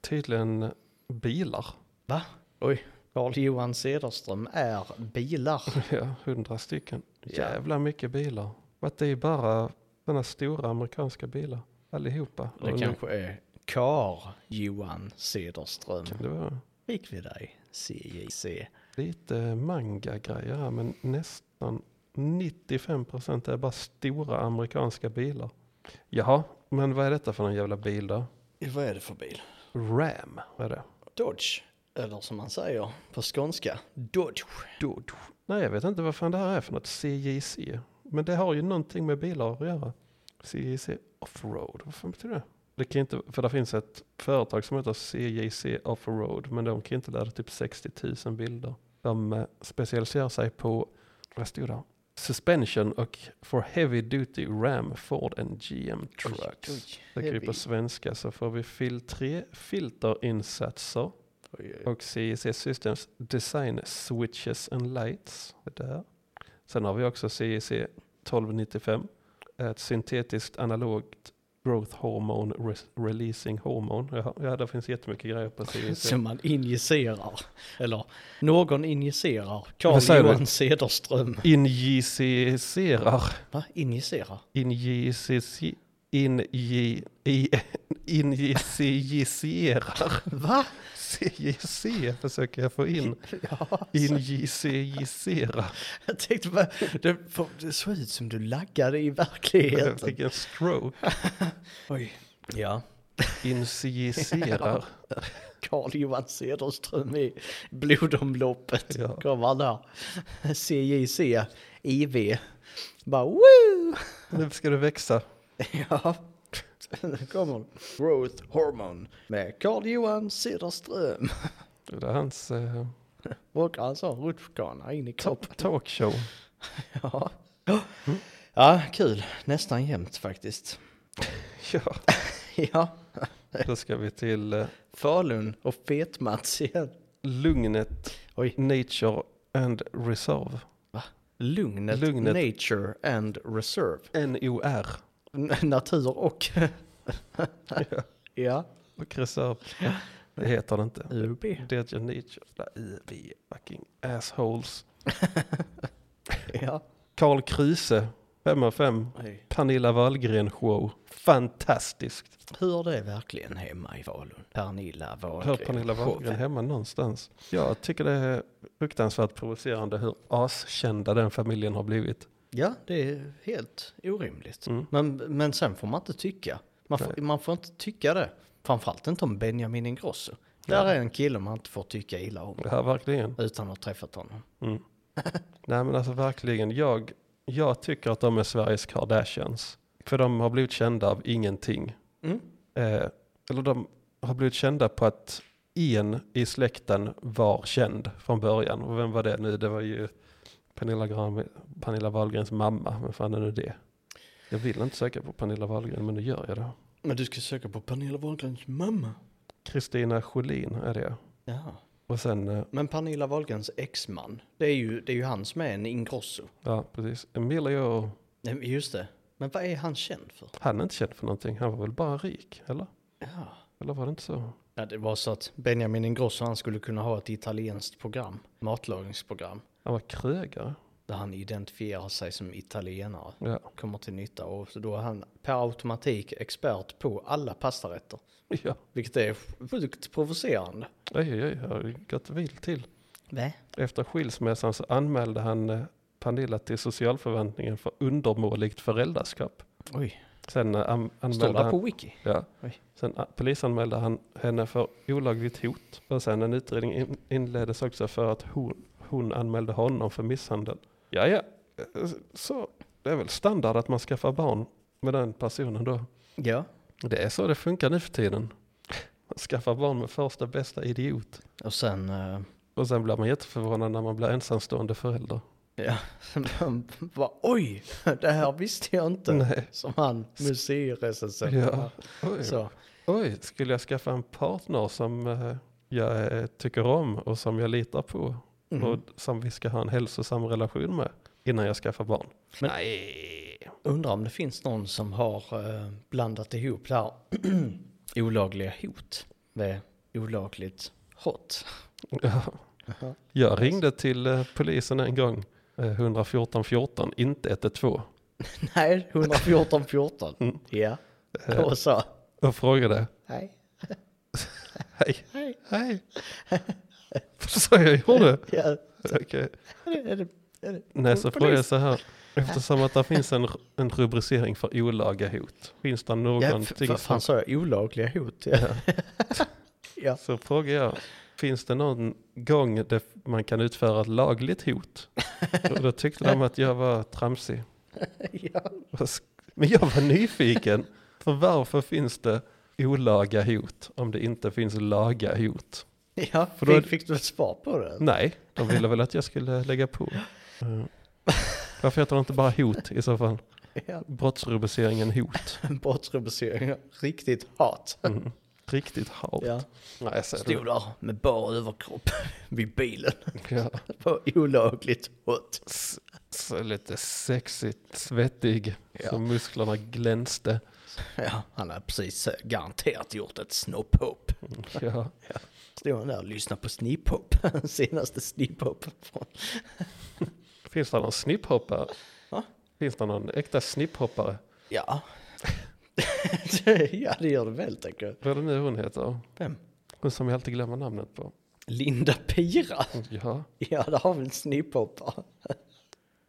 C: tydligen bilar.
B: Va? Oj. Carl Johan Cederström är bilar.
C: Ja, 100 stycken.
B: Ja.
C: Jävla mycket bilar. Och Att det är bara sådana stora amerikanska bilar. Allihopa. Och
B: Det
C: nu
B: kanske är Carl Johan Cederström.
C: kan det vara
B: Fick vi dig, CJC.
C: lite manga-grejer här, men nästan 95 procent är bara stora amerikanska bilar. Jaha, men vad är detta för någon jävla bil då?
B: Vad är det för bil?
C: Ram är det.
B: Dodge. Eller som man säger på skånska, Dodge.
C: Dodge. Nej, jag vet inte vad fan det här är för något. CJC. Men det har ju någonting med bilar att göra. CJC Offroad. Vad fan betyder det? Det kan inte, för det finns ett företag som heter CJC Offroad. Men de kan inte ladda typ 60 000 bilder. De eh, specialiserar sig på, vad stod det? Suspension och for heavy duty Ram, Ford and GM trucks. Söker vi på svenska så får vi fil 3 filterinsatser och CIC Systems Design Switches and Lights. Det där. Sen har vi också E CIC 1295, ett syntetiskt analogt growth hormone res- releasing hormone. Ja, ja, det finns jättemycket grejer på E CIC.
B: Som man injicerar. Eller någon injicerar.
C: Vad
B: Carl
C: säger du?
B: Johan Cederström.
C: Injicerar.
B: Va? Injicera?
C: Injici- inji- i- Injicierar.
B: Va?
C: CJC E försöker jag få in.
B: Ja,
C: Injicera.
B: jag tänkte bara, det, för, det såg ut som du laggade i
C: Jag
B: verkligheten.
C: fick en stroke.
B: Oj. Ja,
C: Injicerar.
B: Carl Johan Cederström i blodomloppet.
C: Ja.
B: Kommer han där. CJC, IV. Bara woo!
C: Nu ska du växa.
B: Ja, nu kommer hon. Growth Hormone med Carl Johan Cederström.
C: Det är hans eh,
B: Och han sa rutschkana in i kroppen.
C: top talkshow.
B: Ja. ja, kul. Nästan jämnt faktiskt.
C: Ja,
B: Ja,
C: då ska vi till eh,
B: Falun och Fet-Mats igen.
C: Lugnet
B: Oj.
C: Nature and Reserve.
B: Lugnet,
C: Lugnet.
B: Nature and Reserve.
C: NOR.
B: N- natur och... ja.
C: Och Reserve. Det heter det inte.
B: UB.
C: Det är Nature. Nej, vi är fucking assholes.
B: Ja.
C: Karl Kruse, 5 av 5. Pernilla Wahlgren show. Fantastiskt.
B: Hör det verkligen hemma i Falun? Pernilla Wahlgren.
C: Hör Pernilla Wahlgren hemma någonstans? Jag tycker det är fruktansvärt provocerande hur askända den familjen har blivit.
B: Ja, det är helt orimligt.
C: Mm.
B: Men, men sen får man inte tycka. Man får, man får inte tycka det. Framförallt inte om Benjamin Ingrosso. Där är en kille man inte får tycka illa om.
C: Det här verkligen.
B: Utan att ha träffat honom.
C: Mm. Nej men alltså verkligen, jag, jag tycker att de är Sveriges Kardashians. För de har blivit kända av ingenting.
B: Mm.
C: Eh, eller de har blivit kända på att en i släkten var känd från början. Och vem var det nu? Det var ju Pernilla, Gram, Pernilla Wahlgrens mamma. Vem fan är nu det? Jag vill inte söka på Pernilla Wahlgren men nu gör jag det.
B: Men du ska söka på Pernilla Wahlgrens mamma.
C: Kristina Schelin är det.
B: Ja.
C: Och sen, eh,
B: Men Pernilla Wahlgrens exman. Det är ju, det är ju han som är en Ingrosso.
C: ja precis, Emilio,
B: Nej, men Just det. Men vad är han känd för?
C: han är inte känd för någonting. Han var väl bara rik, eller?
B: Ja.
C: Eller var det inte så?
B: Ja, det var så att Benjamin Ingrosso han skulle kunna ha ett italienskt program. Matlagningsprogram.
C: Han var krögare.
B: Där han identifierar sig som italienare.
C: Ja.
B: kommer till nytta och så då är han per automatik expert på alla pastarätter.
C: ja.
B: Vilket är sjukt provocerande.
C: Oj, oj, oj, har det gått vilt till.
B: Va?
C: Efter skilsmässan så anmälde han eh, Pernilla till socialförvaltningen för undermåligt föräldraskap.
B: Oj,
C: Sen eh, an-
B: står
C: anmälde
B: det på
C: han,
B: wiki?
C: ja.
B: Oj.
C: Sen eh, polisanmälde han henne för olagligt hot. Och sen en utredning in, inleddes också för att hon, hon anmälde honom för misshandel. Ja, ja. Eh, Så det är väl standard att man skaffar barn med den personen då.
B: Ja.
C: Det är så det funkar nu för tiden. Man skaffar barn med första bästa idiot.
B: Och sen, eh,
C: Och sen blir man jätteförvånad när man blir ensamstående förälder.
B: ja, man bara oj, det här visste jag inte.
C: Nej.
B: Som han museirecensenten.
C: Ja. Oj.
B: Så,
C: Oj, skulle jag skaffa en partner som eh, jag eh, tycker om och som jag litar på
B: Mhm.
C: och som vi ska ha en hälsosam relation med innan jag skaffar barn?
B: Men-
C: Nej.
B: undrar om det finns någon som har eh, blandat ihop det här olagliga hot med olagligt hot.
C: Ja. Jag ringde till eh, polisen en gång, eh, 114 14, inte 112,
B: Nej, 114 14.
C: Mm.
B: Ja,
C: Eh.
B: och så.
C: och frågade
B: Nej.
C: hej.
B: Hej.
C: Hej. Så jag gjorde.
B: Ja,
C: Okej.
B: det är det Är det?
C: Nej, så
B: Polis.
C: frågar jag så här. Eftersom att det finns en, en rubricering för olaga hot. Finns det
B: Ja,
C: någonting
B: för, för
C: som...
B: fan sa jag olagliga hot?
C: Ja.
B: Ja.
C: Så frågar jag, finns det någon gång där man kan utföra ett lagligt hot? Och då tyckte de att jag var tramsig.
B: ja.
C: Vad sk- Men jag var nyfiken. För varför finns det olaga hot om det inte finns laga hot?
B: ja
C: För då är
B: fick,
C: det-
B: fick du ett svar på det?
C: Nej, de ville väl att jag skulle lägga på. Eh, Varför heter det inte bara hot i så fall?
B: Ja.
C: Brottsrubriceringen hot.
B: Brottsrubricering, riktigt hat.
C: Mm. Riktigt halt.
B: Ja.
C: Nej, så är det-
B: Stod där med bar överkropp vid bilen.
C: Ja.
B: På olagligt hot.
C: S- Så lite sexigt svettig.
B: Ja.
C: Så musklerna glänste.
B: Ja, han har precis eh, garanterat gjort ett snopphopp.
C: Ja.
B: Stod han där och lyssnade på sniphopp, senaste sniphoppen från...
C: Finns det någon snipphoppare?
B: Va?
C: Finns det någon äkta snipphoppare?
B: Ja. ja, det gör det väl tänker jag.
C: Vad är det nu hon heter?
B: Vem?
C: Hon som jag alltid glömmer namnet på.
B: Linda Pira.
C: Ja,
B: Ja, där har vi en snipphoppare.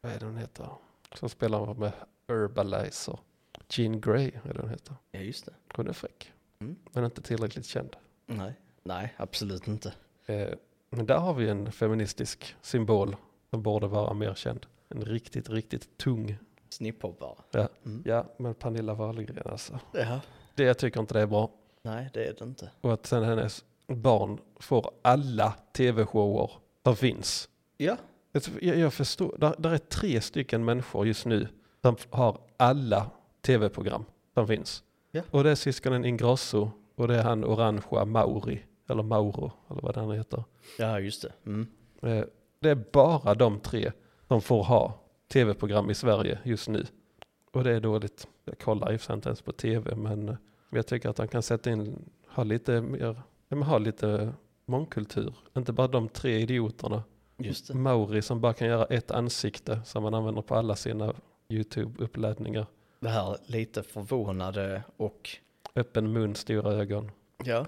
C: vad är det hon heter? Som spelar med Herbalizer. Jean Grey är det hon heter.
B: Ja, just det.
C: Hon är fräck.
B: Mm.
C: Men inte tillräckligt känd.
B: Nej. Nej, absolut inte.
C: Eh, Men där har vi en feministisk symbol som borde vara mer känd. En riktigt, riktigt tung.
B: Snipphoppare.
C: Ja,
B: Mm.
C: ja men Pernilla Wahlgren alltså.
B: Ja.
C: Det jag tycker inte det är bra.
B: Nej, det är det inte.
C: Och att sen hennes barn får alla tv-shower som finns.
B: Ja.
C: Alltså, Jag, jag förstår, där, där är tre stycken människor just nu som har alla tv-program som finns.
B: Ja.
C: Och det är syskonen Ingrosso och det är han orangea Mauri, eller Mauro, eller vad han heter.
B: Ja, just det. Mm.
C: Eh, Det är bara de tre som får ha tv-program i Sverige just nu. Och det är dåligt. Jag kollar i och för sig inte ens på tv, men eh, jag tycker att de kan sätta in, ha lite mer, ja, men ha lite mångkultur. Inte bara de tre idioterna
B: Just det.
C: Mauri som bara kan göra ett ansikte som man använder på alla sina YouTube-uppladdningar.
B: Det här lite förvånade och...
C: Öppen mun, stora ögon.
B: Ja.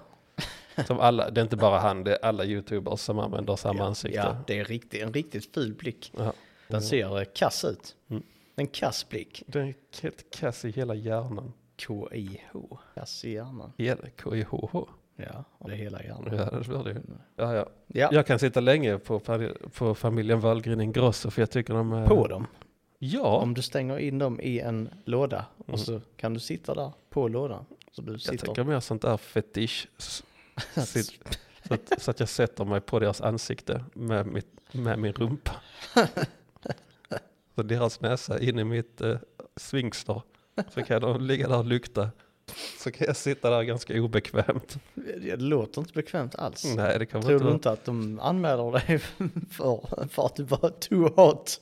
C: Som alla, det är inte bara han, det är alla YouTubers som använder samma ansikte.
B: Ja, det är riktigt, en riktigt ful blick.
C: Ja.
B: Den ser eh, kass ut.
C: Mm.
B: En kass blick.
C: Det är helt kass i hela hjärnan.
B: K-I-H. Kass i hjärnan.
C: Hela KIHH.
B: Ja, och det är hela
C: Ja,
B: hjärnan.
C: det blir det ju. Ja, ja.
B: Ja,
C: Jag kan sitta länge på, fami- på familjen Wahlgren Ingrosso för jag tycker de är...
B: på dem.
C: Ja,
B: Om du stänger in dem i en låda och så kan du sitta där på lådan. Så du
C: Mm. jag
B: sitter...
C: tänker mer sånt där fetisch. s- sitt- Så att, så att jag sätter mig på deras ansikte med, mitt, med min rumpa. Så deras näsa in i mitt eh, svingstar. Så kan de ligga där och lukta. Så kan jag sitta där ganska obekvämt.
B: Det låter inte bekvämt alls.
C: Nej, det kan
B: Tror
C: inte
B: du
C: vara.
B: inte att de anmäler dig för, för att du var too hot?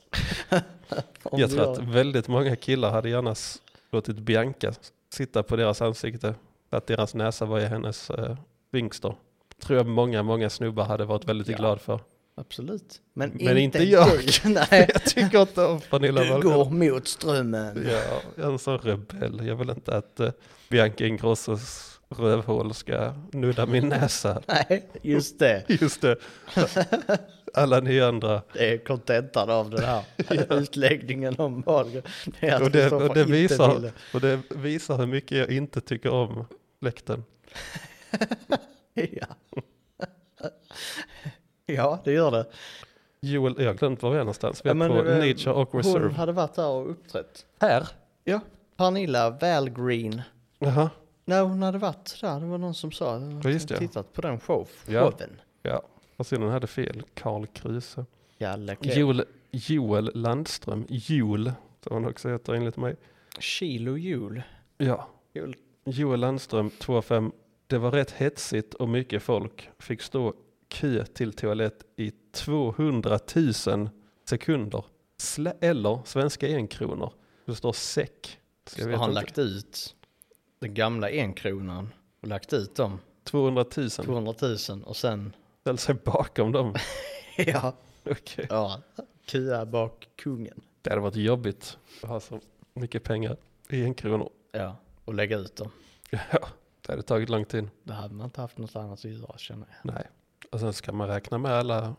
B: Om
C: Jag
B: du
C: tror
B: gör
C: att
B: det.
C: väldigt många killar hade gärna s- låtit Bianca sitta på deras ansikte. Att deras näsa var i hennes eh, svingstar. Tror jag många, många snubbar hade varit väldigt
B: Ja.
C: glad för.
B: Absolut. Men,
C: Men inte jag.
B: Du. Nej,
C: Jag tycker inte om Pernilla
B: du
C: Wahlgren.
B: går mot strömmen.
C: Ja, jag är en sån rebell. Jag vill inte att eh, Bianca Ingrossos rövhål ska nudda min näsa.
B: Nej, just det.
C: Just det. Alla ni andra.
B: Det är kontentan av den här utläggningen om Wahlgren. Det är att
C: Och det,
B: Kristoffer
C: och, det
B: inte
C: visar,
B: ville.
C: och det visar hur mycket jag inte tycker om läkten.
B: Ja. ja, det gör det.
C: Joel, jag har glömt var vi är någonstans. Vi
B: Ja,
C: är
B: men,
C: på
B: eh,
C: Nature och
B: Hon
C: Reserve.
B: hade varit där och uppträtt.
C: Här?
B: Ja. Pernilla Wahlgren.
C: Jaha.
B: Nej, hon hade varit där. Det var någon som sa. att
C: Ja, just
B: hon
C: det.
B: Tittat på den show,
C: Ja.
B: showen.
C: Ja. Och sedan hade fel. Karl Kruse.
B: Jalle Joel.
C: Joel, Joel Landström. Joel, som han också heter enligt mig.
B: Kilo jul.
C: Ja.
B: Jul.
C: Joel Landström 25. Det var rätt hetsigt och mycket folk. Fick stå kö till toalett i 200 000 sekunder. Slä, eller svenska enkronor. Det står säck. Så jag
B: Har
C: vet
B: han
C: inte.
B: lagt ut den gamla enkronan och lagt ut dem,
C: Mm. 200 000.
B: 200 000 och sen,
C: Ställ sig bakom dem.
B: ja,
C: Okej.
B: ja, kia bak kungen.
C: Det hade varit jobbigt att ha så mycket pengar i enkronor.
B: Ja, och lägga ut dem.
C: Ja, det hade tagit lång tid.
B: Det hade man inte haft något annat att göra känner jag.
C: Nej. Och sen ska man räkna med alla,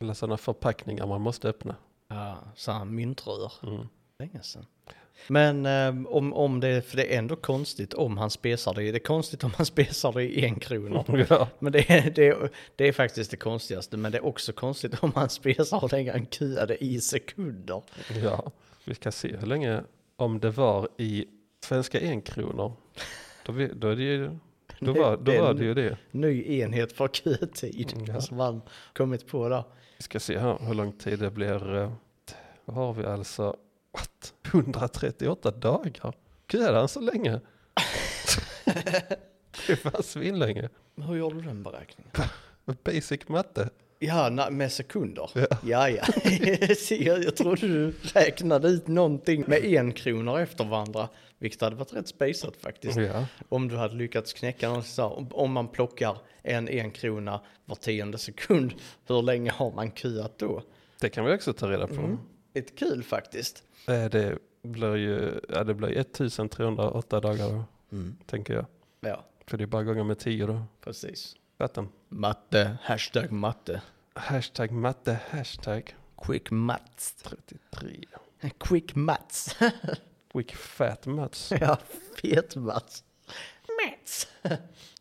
C: alla sådana förpackningar man måste öppna.
B: Ja, så här myntrör.
C: Mm.
B: Länge sedan. Men eh, om, om det, för det är ändå konstigt om han spesar det. i- Det är konstigt om han spesar det i en krona.
C: Ja.
B: Men det är, det, är, det är faktiskt det konstigaste. Men det är också konstigt om han spesar och lägger en kuade i sekunder.
C: ja, vi ska se hur länge, om det var i svenska enkronor, då, vi- då, är det ju, då, var, då
B: Det är
C: var
B: en
C: det ju det.
B: Ny enhet för kutid
C: Ja.
B: som han kommit på där.
C: Vi ska se här hur lång tid det blir. eh, Vad har vi alltså? What? 138 dagar? Kuade han så länge? det var svinlänge.
B: Hur gör du den beräkningen?
C: Basic matte.
B: Ja, na, med sekunder. Ja, ja. Se, jag, jag trodde du räknade ut någonting med en kronor efter varandra. Vilket hade varit rätt spejsat faktiskt.
C: Ja.
B: Om du hade lyckats knäcka något så här, om- om man plockar en en krona var tionde sekund, hur länge har man kuat då?
C: Det kan vi också ta reda på.
B: Lite kul faktiskt.
C: Eh, Det blir ju ja, det blir 1308 dagar då, tänker jag.
B: Ja,
C: För det är bara gånger med 10 då.
B: precis.
C: Vatten.
B: Matte, hashtag matte.
C: Hashtag matte, hashtag
B: Quick mats.
C: 33.
B: Quick mats.
C: Quick fat mats.
B: ja, fet mats. Mats.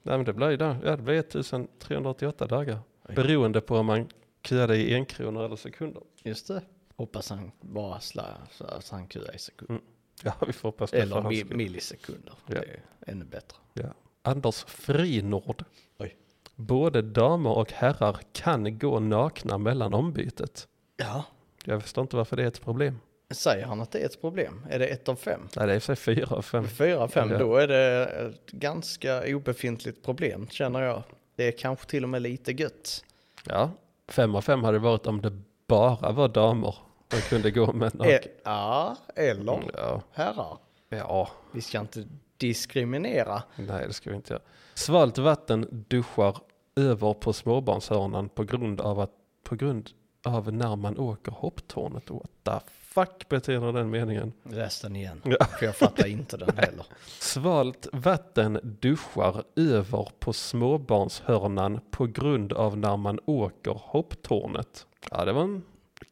C: Nej men det blir ju där. Ja, det blir 1388 dagar. Beroende på om man kuade i en kronor eller sekunder.
B: Just det. Hoppas han bara slar, så att han kuar i sekunder.
C: Ja, vi får hoppas Mm, det för
B: Eller
C: hans
B: mi-
C: skull.
B: millisekunder.
C: Ja.
B: Det är ännu bättre.
C: Ja. Anders Frinord.
B: Oj.
C: Både damer och herrar kan gå nakna mellan ombytet.
B: Ja,
C: Jag förstår inte varför det är ett problem.
B: säger han att det är ett problem? Är det ett av fem?
C: Nej, det är i och för sig fyra av fem.
B: Fyra, fem,
C: Ja.
B: då är det ett ganska obefintligt problem känner jag. Det är kanske till och med lite gött.
C: Ja, fem av fem hade det varit om det bara var damer som kunde gå med
B: E-
C: nakna.
B: ja, eller
C: Mm, Ja.
B: herrar.
C: ja,
B: Vi ska inte diskriminera.
C: nej det ska vi inte göra. Svalt vatten duschar över på småbarnshörnan på grund av att på grund av när man åker hopptornet. What the fuck betyder den meningen?
B: Läs den igen,
C: Ja.
B: för jag fattar inte den heller.
C: Svalt vatten duschar över på småbarnshörnan på grund av när man åker hopptornet. Ja, det var en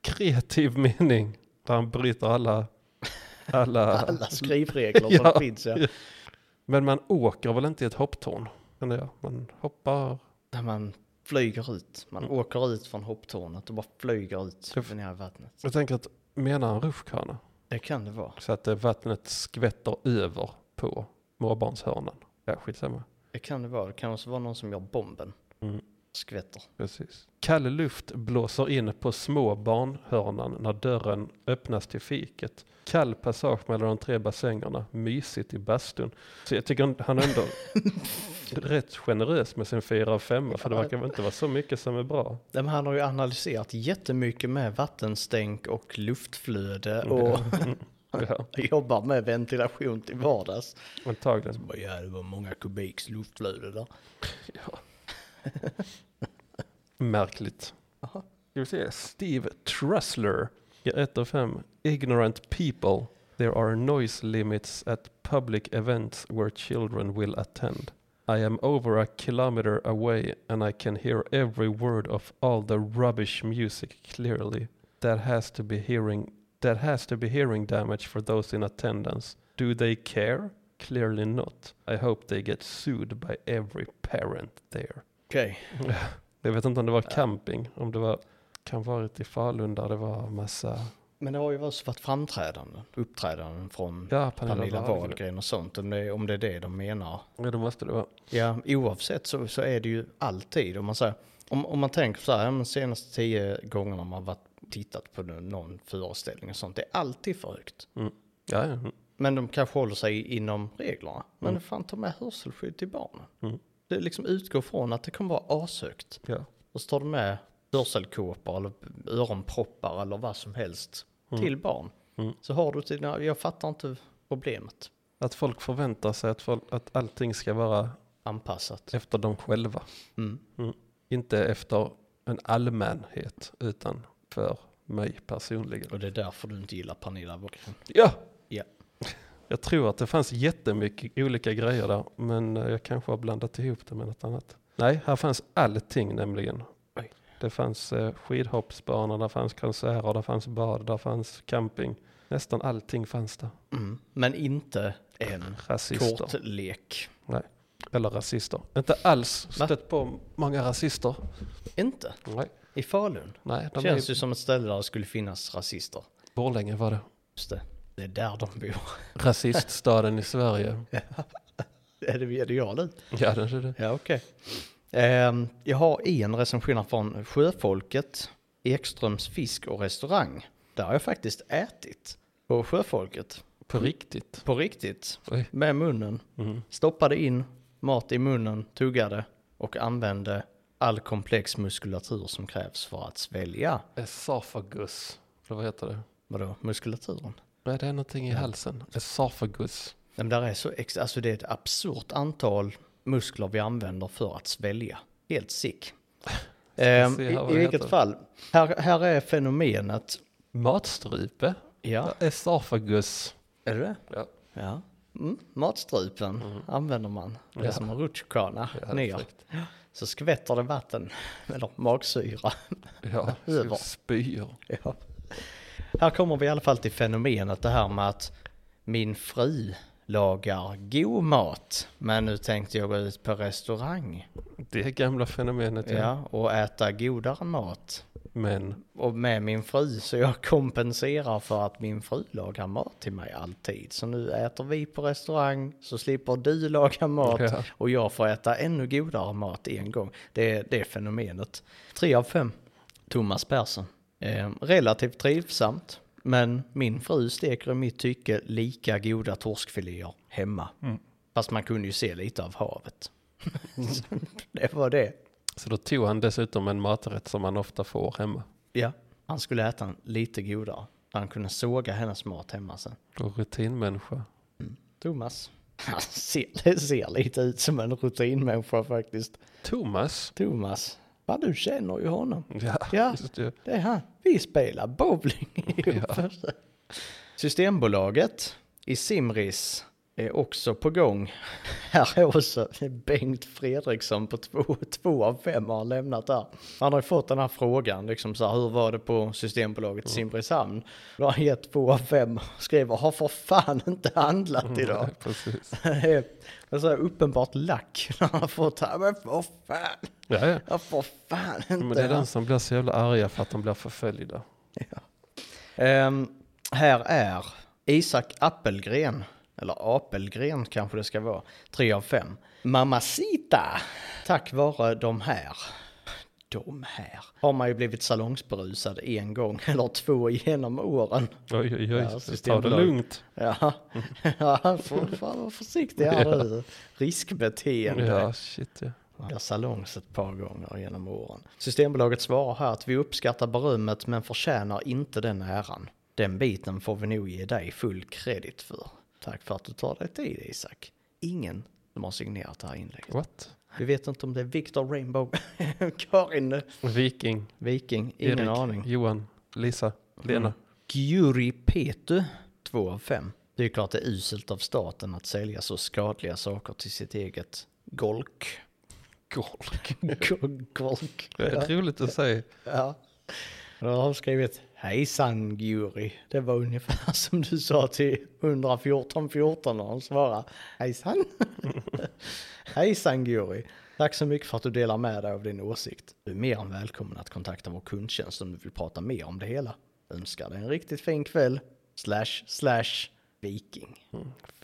C: kreativ mening. Där han bryter alla... Alla...
B: Alla skrivregler som
C: Ja.
B: finns. Ja.
C: Men man åker väl inte i ett hopptorn? känner jag. Man hoppar...
B: När man flyger ut. Man åker ut från hopptornet och bara flyger ut
C: Mm. Tuff.
B: ner i vattnet.
C: Jag tänker att menar en rutschkana?
B: Det kan det vara.
C: Så att eh, vattnet skvätter över på småbarnshörnan. Ja, skitsamma.
B: Det kan det vara. Det kan också vara någon som gör bomben.
C: Mm.
B: Skvätter.
C: Precis. Kall luft blåser in på små barnhörnan när dörren öppnas till fiket. Kall passage mellan de tre bassängerna, mysigt i bastun. Så jag tycker han är ändå rätt generös med sin fyra av 5 för det verkar väl inte vara så mycket som är bra.
B: Nej, men Han har ju analyserat jättemycket med vattenstänk och
C: Mm.
B: luftflöde och
C: Ja,
B: jobbar med ventilation till vardags.
C: antagligen.
B: Bara, Ja, det var många kubiks luftflöde där.
C: Märkligt.
B: Jaha.
C: Ska vi se. Steve Trussler. Ja, 1 av 5. Ignorant people. There are noise limits at public events where children will attend. I am over a kilometer away and I can hear every word of all the rubbish music clearly. That has to be hearing that has to be hearing damage for those in attendance. Do they care? Clearly not. I hope they get sued by every parent there.
B: Okej,
C: Jag vet inte om det var camping, om det var, kan varit i Falun där det var massa,
B: men det har ju också varit framträdanden, uppträdanden från
C: ja Pernilla
B: Pernilla
C: Wahlgren.
B: Wahlgren och sånt, om det, om det är det de menar.
C: Ja det måste det vara.
B: Ja, oavsett så, så är det ju alltid. Om man, säger, om, om man tänker så här, ja, men de senaste tio gångerna man varit, tittat på någon- någon föreställning och sånt, det är alltid för högt.
C: Ja, ja. mm.
B: Men de kanske håller sig inom reglerna. Men fan ta med hörselskydd till barnen.
C: Mm.
B: Det liksom utgår från att det kommer vara ashögt.
C: ja.
B: Och så tar de med hörselkåpor eller öronproppar eller vad som helst till barn.
C: Mm.
B: Så har du till, jag fattar inte problemet
C: Att folk förväntar sig att, folk, att allting ska vara
B: anpassat.
C: efter dem själva.
B: Mm.
C: Inte efter en allmänhet, utan för mig personligen.
B: Och det är därför du inte gillar Pernilla Wahlgren.
C: Ja!
B: Ja.
C: Jag tror att det fanns jättemycket olika grejer där, men eh, jag kanske har blandat ihop det med något annat. Nej, här fanns allting nämligen.
B: Oj.
C: Det fanns eh, skidhoppsbanor, där fanns konserter, där fanns bad, där fanns camping. Nästan allting fanns där.
B: Mm. Men inte en
C: Rasister.
B: kortlek.
C: Eller rasister. Inte alls
B: Va?
C: stött på många rasister.
B: Inte?
C: Nej,
B: I Falun?
C: nej
B: Känns
C: de Känns är
B: ju som ett ställe där det skulle finnas rasister.
C: i Borlänge var det.
B: Just det. Det är där de bor.
C: Rasiststaden i Sverige.
B: Är det, är det jag nu?
C: Ja, det är det.
B: Ja, okej. Ehm, jag har en recension från Sjöfolket, Ekströms fisk och restaurang. Där har jag faktiskt ätit. På Sjöfolket.
C: På riktigt.
B: På riktigt.
C: Oj.
B: Med munnen.
C: Mm.
B: Stoppade in mat i munnen, tuggade och använde all komplex muskulatur som krävs för att svälja.
C: Esafagus. Eller vad heter det?
B: Vadå, muskulaturen?
C: Nej, det är någonting i halsen. Esafagus.
B: Nej, men där är så ex- alltså det är ett absurt antal muskler vi använder för att svälja. Helt sick. Ehm,
C: se
B: I
C: här vad
B: i
C: det
B: vilket
C: heter.
B: fall, här, här är fenomenet.
C: Matstrupe.
B: Ja,
C: Esafagus.
B: är det det?
C: Ja.
B: Ja. Mm, matstrupen använder man. Det är
C: Mm. Ja.
B: som en rutschkana
C: Ja,
B: ner.
C: exakt.
B: Så skvätter det vatten, eller magsyra.
C: Ja,
B: Över.
C: spyr.
B: Ja. Här kommer vi i alla fall till fenomenet det här med att min fru lagar god mat. Men nu tänkte jag gå ut på restaurang
C: Det gamla fenomenet. Ja.
B: ja, och äta godare mat.
C: Men
B: Och med min fru så jag kompenserar för att min fru lagar mat till mig alltid. Så nu äter vi på restaurang så slipper du laga mat
C: Ja.
B: och jag får äta ännu godare mat en gång. Det är det är fenomenet. Tre av fem. Thomas Persson. Eh, relativt trivsamt. Men min fru steker i mitt tycke lika goda torskfiléer hemma. Fast man kunde ju se lite av havet. Så det var det.
C: så då tog han dessutom en maträtt som man ofta får hemma.
B: Ja. Han skulle äta den lite godare. Han kunde såga hennes mat hemma sen.
C: Och rutinmänniska.
B: Thomas. Han ser, det ser lite ut som en rutinmänniska faktiskt.
C: Thomas.
B: Thomas. Vad du känner ju honom.
C: Ja,
B: Ja.
C: just det.
B: Det är han. Vi spelar bowling ihop. Systembolaget i Simris är också på gång. Här är också Bengt Fredriksson på två, två av fem har lämnat där. Han har ju fått den här frågan, liksom så här, hur var det på Systembolaget i Simrishamn? Då har han gett två av fem och skriver, har för fan inte handlat idag.
C: Nej, precis.
B: Det är alltså, uppenbart lack när han har fått här, men för fan,
C: Ja, ja.
B: jag får fan inte
C: Men det är den
B: handlat."
C: som blir så jävla arga för att de blir förföljda.
B: Ehm, här är Isak Appelgren, eller Apelgren kanske det ska vara, tre av fem. Mamacita! Tack vare de här, de här, har man ju blivit salongsberusad en gång eller två genom åren.
C: Oj, oj,
B: Ja,
C: oj. Ta det
B: systembolag.
C: lugnt.
B: Ja, ja får fan vara försiktig här nu. Riskbeteende.
C: Ja, shit ja.
B: Ja, salongs ett par gånger genom åren. Systembolaget svarar här att vi uppskattar berömmet men förtjänar inte den äran. Den biten får vi nog ge dig full kredit för. Tack för att du tar dig tid Isak. Ingen som har signerat det här inlägget.
C: What?
B: Vi vet inte om det är Victor Rainbow, Karin
C: Viking.
B: Viking, ingen
C: Erik, Mm.
B: aning.
C: Johan. Lisa. Lena.
B: Gyuri Petu, 2 av 5. Det är klart det är uselt av staten att sälja så skadliga saker till sitt eget golk.
C: Golk.
B: golk.
C: Det är roligt att säga.
B: Ja. Då har de skrivit Hejsan Guri. Det var ungefär som du sa till 114 14 när de svarade Hejsan. Hejsan Guri. Tack så mycket för att du delar med dig av din åsikt. Du är mer än välkommen att kontakta vår kundtjänst om du vill prata mer om det hela. Önskar dig en riktigt fin kväll. Slash slash viking.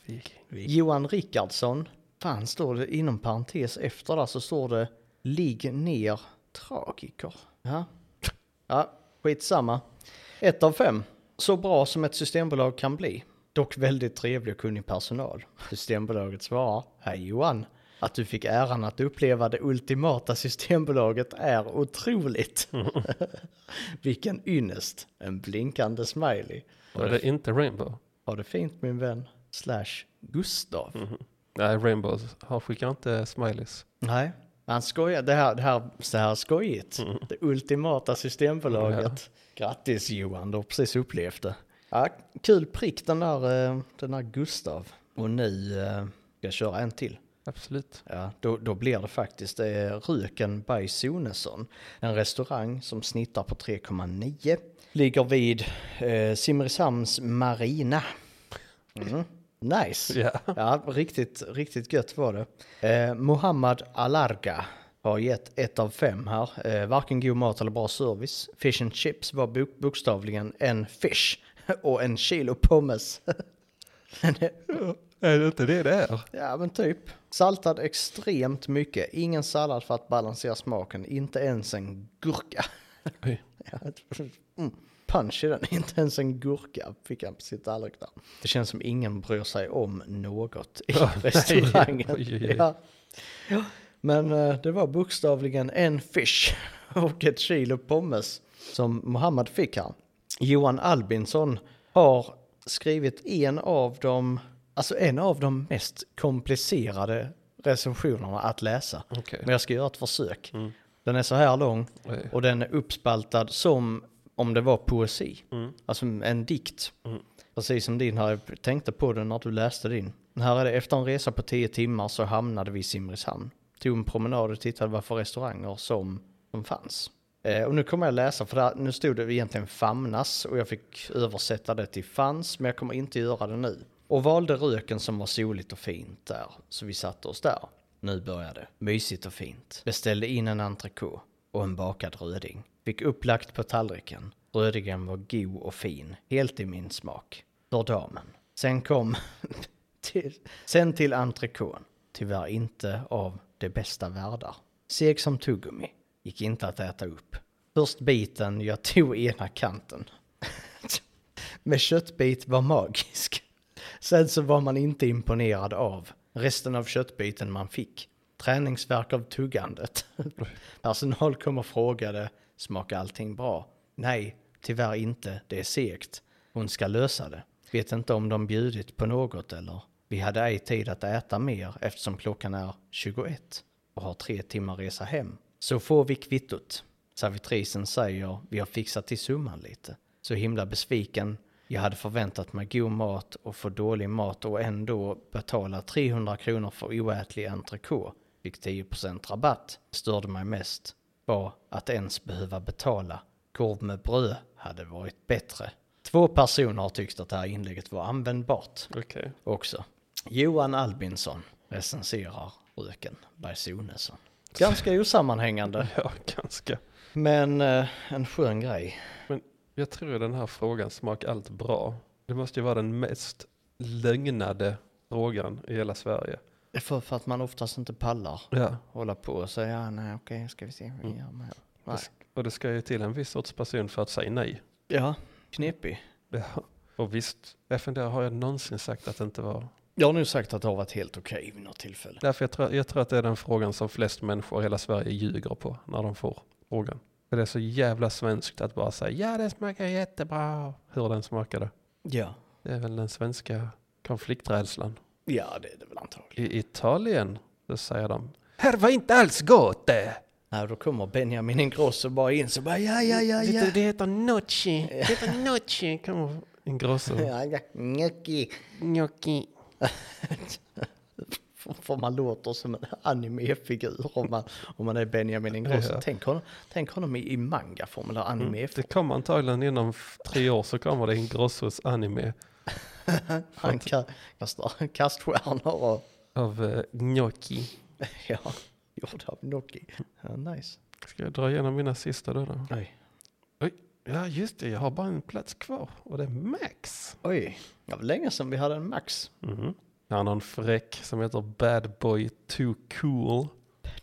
C: Viking.
B: Johan Rickardsson. Fan står det inom parentes efter där så står det Ligg ner tragiker. Ja. ja, skitsamma. Ett av fem. Så bra som ett systembolag kan bli. Dock väldigt trevlig och kunnig personal. Systembolaget svarar, hej Johan. Att du fick äran att uppleva det ultimata Systembolaget är otroligt. Vilken ynnest. En blinkande smiley.
C: Då är det inte Rainbow.
B: Ha det fint min vän. Slash Gustav.
C: Nej, Rainbow han skickar inte smileys.
B: Nej, Mm. han skojar. Det här, det här, så här skojigt. Det ultimata systembolaget. Grattis Johan, du har precis upplevt det. Ja, kul prick den där, eh, den där Gustav. Och nu eh, ska jag köra en till.
C: absolut.
B: Ja, då, då blir det faktiskt eh, Röken by Sonesson. En restaurang som snittar på 3,9. Ligger vid eh, Simrishamns marina. Mm. Nice!
C: Ja.
B: Ja, riktigt, riktigt gött var det. Eh, Mohammad Alarga har gett ett av fem här. Eh, varken god mat eller bra service. Fish and chips var bok- bokstavligen en fish och en kilo pommes.
C: Är det inte det det är?
B: Ja men typ. Saltad extremt mycket. Ingen sallad för att balansera smaken. Inte ens en gurka.
C: Oj.
B: Ja, mm. Punch i den. Inte ens en gurka fick han på sin tallrik där. Det känns som ingen bryr sig om något i
C: Åh, nej.
B: restaurangen.
C: Oj, oj, oj.
B: Ja. Ja. Men eh, det var bokstavligen en fish och ett kilo pommes som Mohammed fick här. Johan Albinsson har skrivit en av de, alltså en av de mest komplicerade recensionerna att läsa.
C: Okej. Mm.
B: Men jag ska göra ett försök. Den är så här lång
C: Oj.
B: och den är uppspaltad som om det var poesi.
C: Mm.
B: Alltså en dikt. Precis som din här, jag tänkte på den när du läste din. Den Här är det, efter en resa på tio timmar så hamnade vi i Simrishamn. Tog en promenad och tittade vad för restauranger som, som fanns. Eh, och nu kommer jag läsa, för där, nu stod det egentligen famnas och jag fick översätta det till fanns, men jag kommer inte göra det nu. Och valde röken som var soligt och fint där, så vi satte oss där. Nu började det. Mysigt och fint. Beställde in en entrecote och en bakad röding. Fick upplagt på tallriken. Rödingen var god och fin, helt i min smak. För damen. Sen kom... till, sen till entrecôten. Tyvärr inte av de bästa världar. Seg som tuggummi. Gick inte att äta upp. Först biten, jag tog ena kanten. Med köttbit var magisk. Sen så var man inte imponerad av resten av köttbiten man fick. Träningsverk av tuggandet. Personal kom och frågade, smakar allting bra? Nej, tyvärr inte, det är segt. Hon ska lösa det. Vet inte om de bjudit på något eller? Vi hade ej tid att äta mer eftersom klockan är 21 och har tre timmar resa hem. Så får vi kvittot. Servitrisen säger vi har fixat till summan lite. Så himla besviken. Jag hade förväntat mig god mat och få dålig mat och ändå betala 300 kronor för oätlig entrecote. Fick 10% rabatt. Störde mig mest var att ens behöva betala. Korv med bröd hade varit bättre. Två personer har tyckt att det här inlägget var användbart
C: Okej.
B: också. Johan Albinsson recenserar Röken by Sonesson. Ganska osammanhängande,
C: Ja, ganska.
B: men eh, en skön grej.
C: Men jag tror den här frågan smakar allt bra. Det måste ju vara den mest lögnade frågan i hela Sverige.
B: Det är För, för att man oftast inte pallar
C: Ja.
B: hålla på och säga ja, nej okej, ska vi se vad vi gör med
C: Mm. Det
B: nej.
C: s- Och det ska ju till en viss sorts person för att säga nej.
B: Ja, knepig.
C: Ja. Och visst, jag funderar, har jag någonsin sagt att det inte var?
B: Jag har nu sagt att det har varit helt okej vid något tillfälle.
C: Därför jag tror, jag tror att det är den frågan som flest människor i hela Sverige ljuger på när de får frågan. För det är så jävla svenskt att bara säga ja det smakar jättebra. Hur den smakade.
B: Ja,
C: Det är väl den svenska konflikträdslan.
B: ja det är det väl antagligen.
C: I Italien, då säger de Här var inte alls gott! Det,
B: Nej, då kommer Benjamin Ingrosso bara in så bara ja, ja, ja, ja.
C: det, det heter noci. Det heter noci. Kommer Ingrosso.
B: Ja, ja, gnocchi.
C: Gnocchi.
B: F- För man låter som en anime-figur om man, om man är Benjamin Ingrosso.
C: Ja.
B: Tänk, honom, tänk honom i, i manga-form eller anime
C: Mm, Det kommer antagligen inom f- tre år så kommer det Ingrossos anime
B: Han ka, kastar kaststjärnor och
C: av eh, gnocchi.
B: ja, gjord av Noki. Ja, nice.
C: Ska jag dra igenom mina sista då? då?
B: Oj.
C: Oj. Ja just det, jag har bara en plats kvar och det är Max.
B: Oj, det var länge sedan vi hade en Max.
C: Mhm. Han har en fräck som heter Bad Boy Too Cool.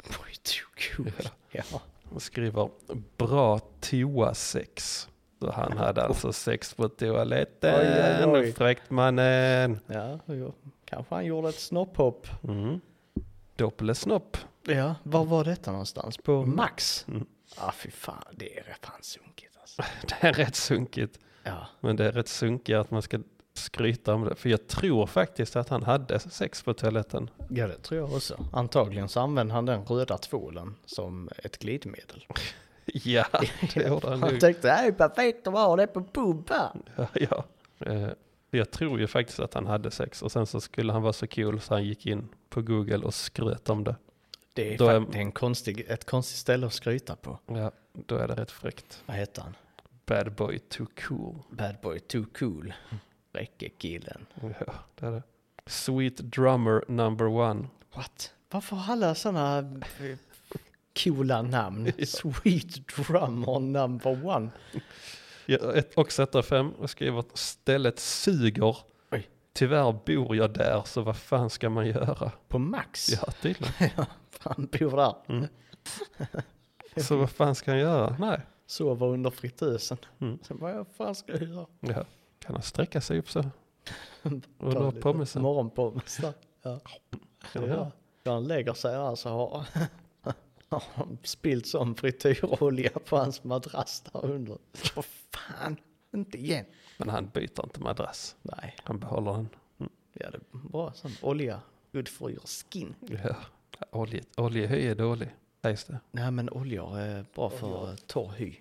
B: Oj, too cool. Ja.
C: Han skriver bra toasex. Så han hade alltså sex på toaletten.
B: Oj, oj, oj.
C: Fräckt mannen.
B: ja, jo. kanske han gjorde ett snopphopp.
C: Mm. Doppelsnopp.
B: Ja, var var detta någonstans? På Max?
C: Mm.
B: Ah, fy fan, det är fan sunkigt alltså.
C: Det är rätt sunkigt.
B: Ja,
C: Men det är rätt sunkigt att man ska skryta om det. För jag tror faktiskt att han hade sex på toaletten.
B: ja det tror jag också. Antagligen så använde han den röda tvålen som ett glidmedel.
C: Ja, det gjorde han
B: Han "Äh,
C: nog.
B: tänkte, det här är perfekt att ha det på pumpa.
C: Ja, ja. Eh, För Jag tror ju faktiskt att han hade sex och sen så skulle han vara så cool så han gick in på Google och skröt om det.
B: Det är
C: Då är-
B: faktiskt en konstig, ett konstigt ställe att skryta på.
C: Ja, då är det rätt fräckt.
B: Vad heter han?
C: Bad boy too cool.
B: Bad boy too cool. Räcker killen.
C: Ja, det är det. Sweet drummer number one.
B: What? Varför har alla eh, sådana coola namn? Sweet drummer number one.
C: Ja, ett, och sätter fem och skriver att stället suger.
B: Oj.
C: Tyvärr bor jag där så vad fan ska man göra?
B: På Max?
C: Ja, tydligen.
B: Han bor där.
C: Så vad fan ska han göra? Nej.
B: Sover under fritösen.
C: Mm.
B: Sen bara, vad fan ska jag göra?
C: Ja. Kan han sträcka sig upp så? Och
B: Ta
C: då
B: lite
C: på med sig?
B: Morgonpommes där. Ja.
C: Ja.
B: Ja. När han lägger sig här så har alltså, har han spillt sån frityrolja på hans madrass där under. Vad fan, inte igen.
C: Men han byter inte madrass.
B: Nej,
C: Han behåller den.
B: ja det är bra sån olja. Good for your skin.
C: Ja. Olje, oljehy är dålig, sägs det.
B: Nej men olja är bra för eh, torr hy.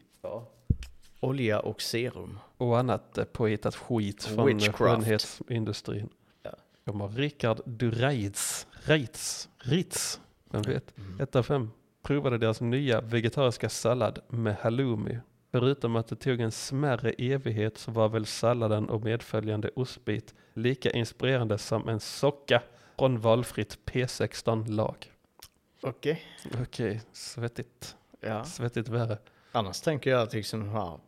B: Olja och serum.
C: Och annat eh, påhittat skit från
B: Witchcraft.
C: Witchcraft. skönhetsindustrin.
B: Ja.
C: Kommer Rickard Dureitz, Reitz, Ritz, vem vet?
B: Mm.
C: 1 av 5. Provade deras nya vegetariska sallad med halloumi. Förutom att det tog en smärre evighet så var väl salladen och medföljande ostbit lika inspirerande som en socka från valfritt P16-lag.
B: Okej.
C: Okej, svettigt.
B: Ja.
C: Svettigt värre.
B: Annars tänker jag att liksom de här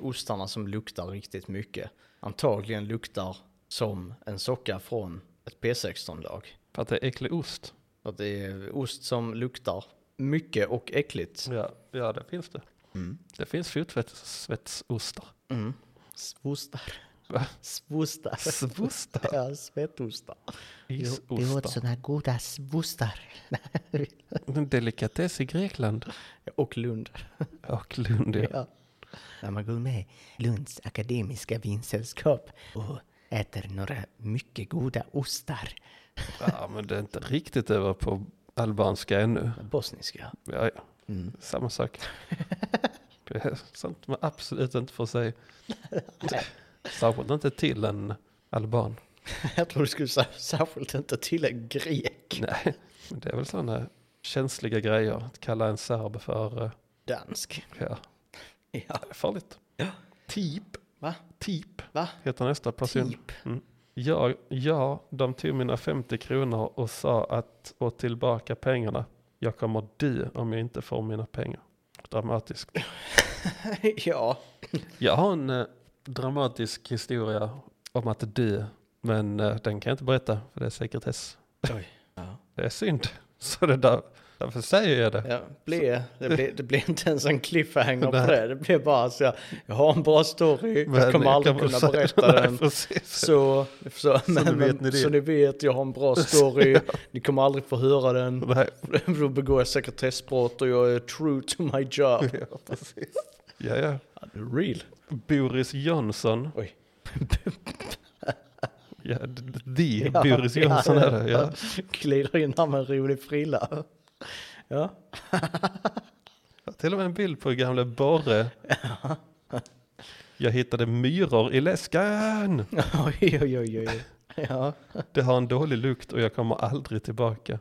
B: ostarna som luktar riktigt mycket antagligen luktar som en socka från ett P16-lag.
C: För att det är äcklig ost.
B: För att det är ost som luktar mycket och äckligt.
C: Ja, ja det finns det.
B: Mm.
C: Det finns fotsvetsostar.
B: Mm. Svostar.
C: Va?
B: Svostar.
C: Svostar?
B: Ja, svettostar.
C: Isostar.
B: sådana goda svostar.
C: En delikatess i Grekland.
B: och Lund.
C: Och Lund, ja.
B: Ja. När man går med Lunds akademiska vinsällskap och äter några mycket goda ostar.
C: ja. men det är inte riktigt över på albanska ännu.
B: Bosniska.
C: Ja, ja. Samma sak. Det är sånt man absolut inte får säga. Särskilt inte till en alban.
B: Jag tror du skulle säga särskilt inte till en grek.
C: Nej, men det är väl sådana känsliga grejer. Att kalla en serb för, eh,
B: Dansk.
C: ja,
B: Ja.
C: det är farligt. Typ.
B: Va?
C: Typ.
B: Va?
C: Heter nästa person.
B: Typ.
C: Ja, ja, de tog mina 50 kronor och sa att få tillbaka pengarna. Jag kommer dö om jag inte får mina pengar. Dramatiskt.
B: ja.
C: Jag har en eh, dramatisk historia om att dö, men eh, den kan jag inte berätta för det är sekretess.
B: Oj. Ja.
C: Det är synd, så det där, därför säger jag det.
B: Ja, ble, det, blev, det blev inte ens en cliffhanger på
C: Nej.
B: det. Det blev bara så här, jag har en bra story,
C: Men
B: jag kommer aldrig
C: kan
B: kunna
C: väl säga-
B: berätta den.
C: Nej, precis.
B: Så, så, men,
C: ni vet ni det.
B: så ni vet, jag har en bra story, ni kommer aldrig få höra den.
C: Nej,
B: Då begår jag sekretessbrott och jag är true to my job.
C: ja, precis. Ja, ja.
B: Ja, det är Real.
C: Boris Johnson.
B: Oj.
C: Ja, d- d- de Boris Johnson är det. Ja.
B: Glider in här med en rolig frilla. Ja,
C: Jag har Till och med en bild på gamla Borre. Jag hittade myror i läskan.
B: oj, oj, oj, oj. Ja,
C: Det har en dålig lukt och jag kommer aldrig tillbaka.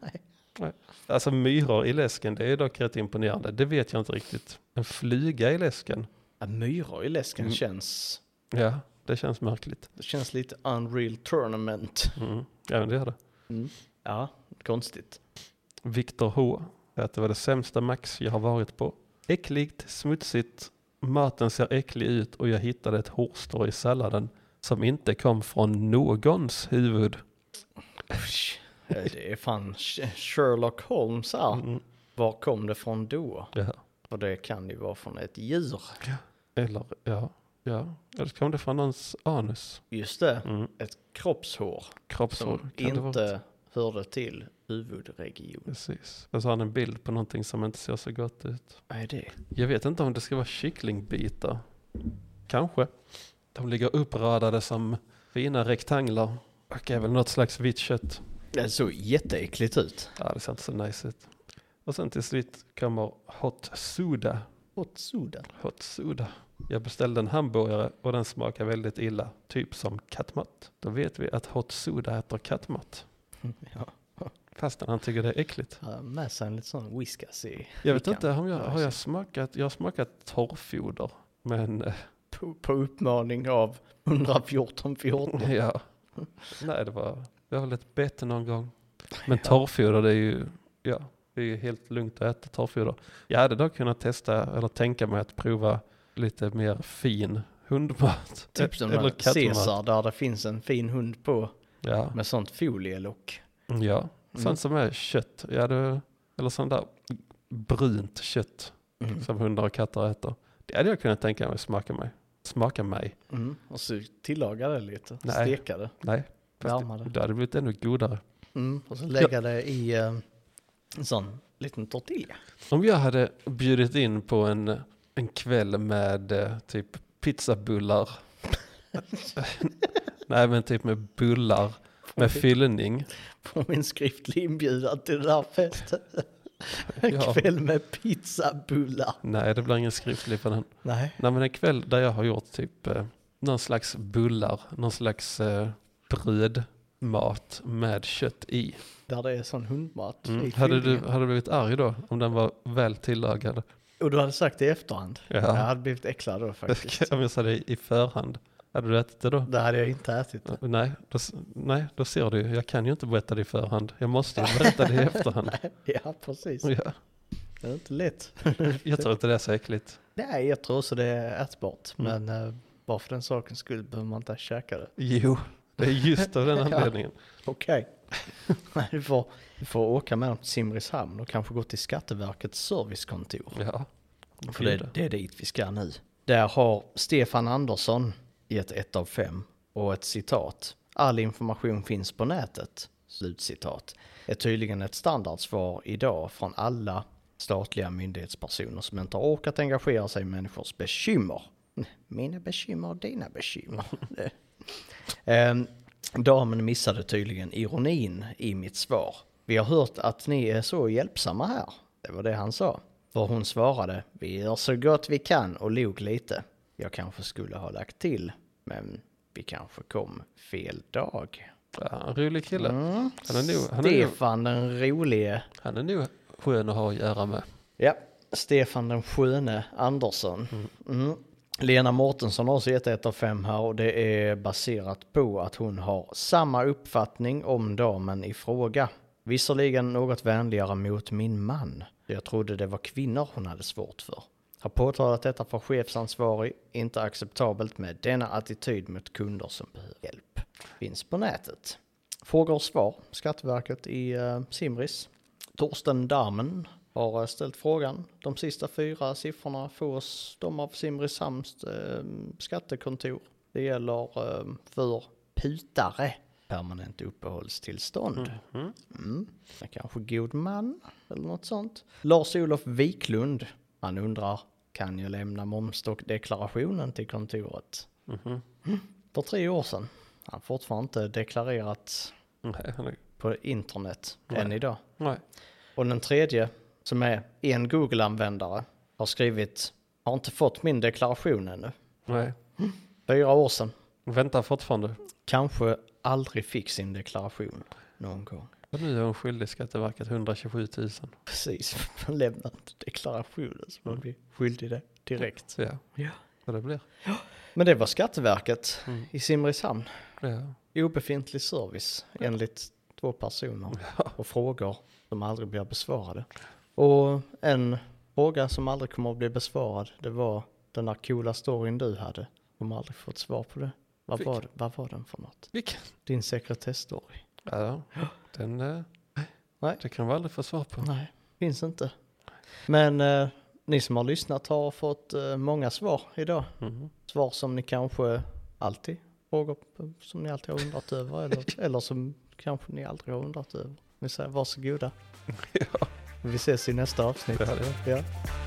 C: Nej. Alltså myror i läsken, det är dock rätt imponerande. Det vet jag inte riktigt. En flyga i läsken,
B: Ja, myror i läsken
C: Mm.
B: känns...
C: ja, det känns märkligt.
B: Det känns lite Unreal Tournament.
C: Mm. Ja, men det gör det.
B: Ja, konstigt.
C: Viktor H. säger Att det var det sämsta Max jag har varit på. Äckligt, smutsigt, maten ser äcklig ut och jag hittade ett hårstrå i salladen som inte kom från någons huvud.
B: Usch. Eh, Det är fan Sh- Sherlock Holmes här.
C: Mm.
B: Var kom det från då?
C: Ja.
B: För det kan ju vara från ett djur.
C: Eller, ja, ja. Eller så kom det från någons anus.
B: Just det,
C: Mm.
B: ett kroppshår
C: Kroppshår
B: som
C: kan det vara.
B: inte hörde till huvudregion.
C: Precis. Jag har en bild på någonting som inte ser så gott ut.
B: Vad är det?
C: Jag vet inte om det ska vara kycklingbitar. Kanske. De ligger uppradade som fina rektanglar. Och är väl något slags vitt kött.
B: Det såg jätteäckligt ut.
C: Ja, det ser inte så nice ut. Och sen till slut kommer Hot Soda.
B: Hot soda.
C: Hot Soda. Jag beställde en hamburgare och den smakar väldigt illa, typ som kattmat. Då vet vi att Hot Soda äter kattmat,
B: Ja.
C: fastän han tycker det är äckligt.
B: Jag har Med sig en lite sån whiskas i
C: Jag vet
B: fickan.
C: inte, om jag,
B: Ja,
C: har jag
B: just
C: smakat, jag har smakat torrfoder, men eh,
B: På, på uppmaning av 114 14.
C: ja. Nej, det var, det var väl ett bete någon gång. Men torrfoder, det är ju, ja, det är ju helt lugnt att äta torrfoder. Jag hade dock kunnat testa, eller tänka mig att prova lite mer fin hundmat.
B: Typ som
C: eller
B: den
C: kattmat.
B: Caesar där det finns en fin hund på
C: Ja,
B: med sånt folielock.
C: ja. sånt
B: Mm.
C: som är kött. Ja, det, eller sånt där brunt kött
B: Mm.
C: som hundar och katter äter. Det hade jag kunnat tänka mig smaka mig. Smaka mig.
B: Mm. Och så tillaga det lite,
C: Nej.
B: steka det.
C: Nej. Fast
B: Värma
C: det,
B: det.
C: det hade blivit ännu godare.
B: Mm. Och så lägga det i eh, en sån liten tortilla.
C: Om jag hade bjudit in på en, en kväll med eh, typ pizzabullar. Nej men typ med bullar med fyllning.
B: På min skriftliga inbjudan till den här festen. En
C: Ja.
B: kväll med pizzabullar.
C: Nej det blir ingen skriftlig på den.
B: Nej.
C: Nej men en kväll där jag har gjort typ eh, någon slags bullar, någon slags eh, brödmat med kött i.
B: Där det är sån hundmat. i
C: Mm. Hade, du,
B: fyllningen.
C: hade du blivit arg då om den var väl tillagad?
B: Och du hade sagt det i efterhand.
C: Ja.
B: Jag hade blivit äcklad då faktiskt.
C: om jag sa det i förhand, hade du ätit det då?
B: det hade jag inte ätit.
C: Nej då, s- nej, då ser du. ju. Jag kan ju inte berätta det i förhand. Jag måste ju berätta det i efterhand.
B: Ja, precis.
C: Ja,
B: Det är inte lätt.
C: jag tror inte det är så äckligt.
B: Nej, jag tror också det är ätbart.
C: Mm.
B: Men eh, bara för den sakens skull behöver man inte käka det.
C: Jo, det är just av den anledningen.
B: Okej. Nej, du, får, du får åka med dem till Simrishamn och kanske gå till Skatteverkets servicekontor.
C: Ja.
B: För det, det är dit vi ska nu. Där har Stefan Andersson gett ett av fem och ett citat. All information finns på nätet. Slutcitat. Är tydligen ett standardsvar idag från alla statliga myndighetspersoner som inte har orkat engagera sig i människors bekymmer. Mina bekymmer och dina bekymmer. Det- Ehm, damen missade tydligen ironin i mitt svar. Vi har hört att ni är så hjälpsamma här. Det var det han sa. Var hon svarade, vi gör så gott vi kan och log lite. Jag kanske skulle ha lagt till, men vi kanske kom fel dag.
C: Ja, en rolig kille.
B: Mm.
C: Han, är nog, han, är nog,
B: Stefan den rolige.
C: han är nog skön att ha att göra med.
B: Ja, Stefan den sköne Andersson. Mm. Lena Mårtensson har också gett ett av fem här och det är baserat på att hon har samma uppfattning om damen i fråga. Visserligen något vänligare mot min man. Jag trodde det var kvinnor hon hade svårt för. Har påtalat detta för chefsansvarig. Inte acceptabelt med denna attityd mot kunder som behöver hjälp. Finns på nätet. Frågor och svar. Skatteverket i eh, Simris. Torsten Damen har eh, ställt frågan. De sista fyra siffrorna fås de av Simrishamns eh, skattekontor. Det gäller eh, för putare permanent uppehållstillstånd. Mm. Men Kanske god man eller något sånt. Lars-Olof Wiklund, han undrar kan jag lämna momsdeklarationen till kontoret? Mm. För tre år sedan. Han har fortfarande inte deklarerat
C: Nej, han är,
B: på internet än idag.
C: nej.
B: Och den tredje, som är en Google-användare, har skrivit har inte fått min deklaration ännu.
C: nej.
B: Fyra år sedan.
C: Väntar fortfarande.
B: Kanske aldrig fick sin deklaration någon gång.
C: Och nu är hon skyldig Skatteverket 127 000.
B: Precis, man lämnar inte deklarationen så man blir skyldig det direkt.
C: Ja,
B: Ja.
C: så det blir.
B: Men det var Skatteverket
C: Mm.
B: i Simrishamn.
C: Ja.
B: Obefintlig service enligt två personer och frågor som aldrig blir besvarade. Och en fråga som aldrig kommer att bli besvarad, det var den där coola storyn du hade. De har aldrig fått svar på det. Vad var, det- vad var den för något?
C: Vilken?
B: Din sekretessstory?
C: Ja, den, eh,
B: Nej.
C: det kan vi aldrig få svar på.
B: Nej, finns inte. Men eh, ni som har lyssnat har fått eh, många svar idag.
C: Mhm.
B: Svar som ni kanske alltid frågor på- som ni alltid har undrat över eller, eller som kanske ni aldrig har undrat över. Vi säger varsågoda. Vi ses i nästa avsnitt.
C: Det hade jag.
B: Ja.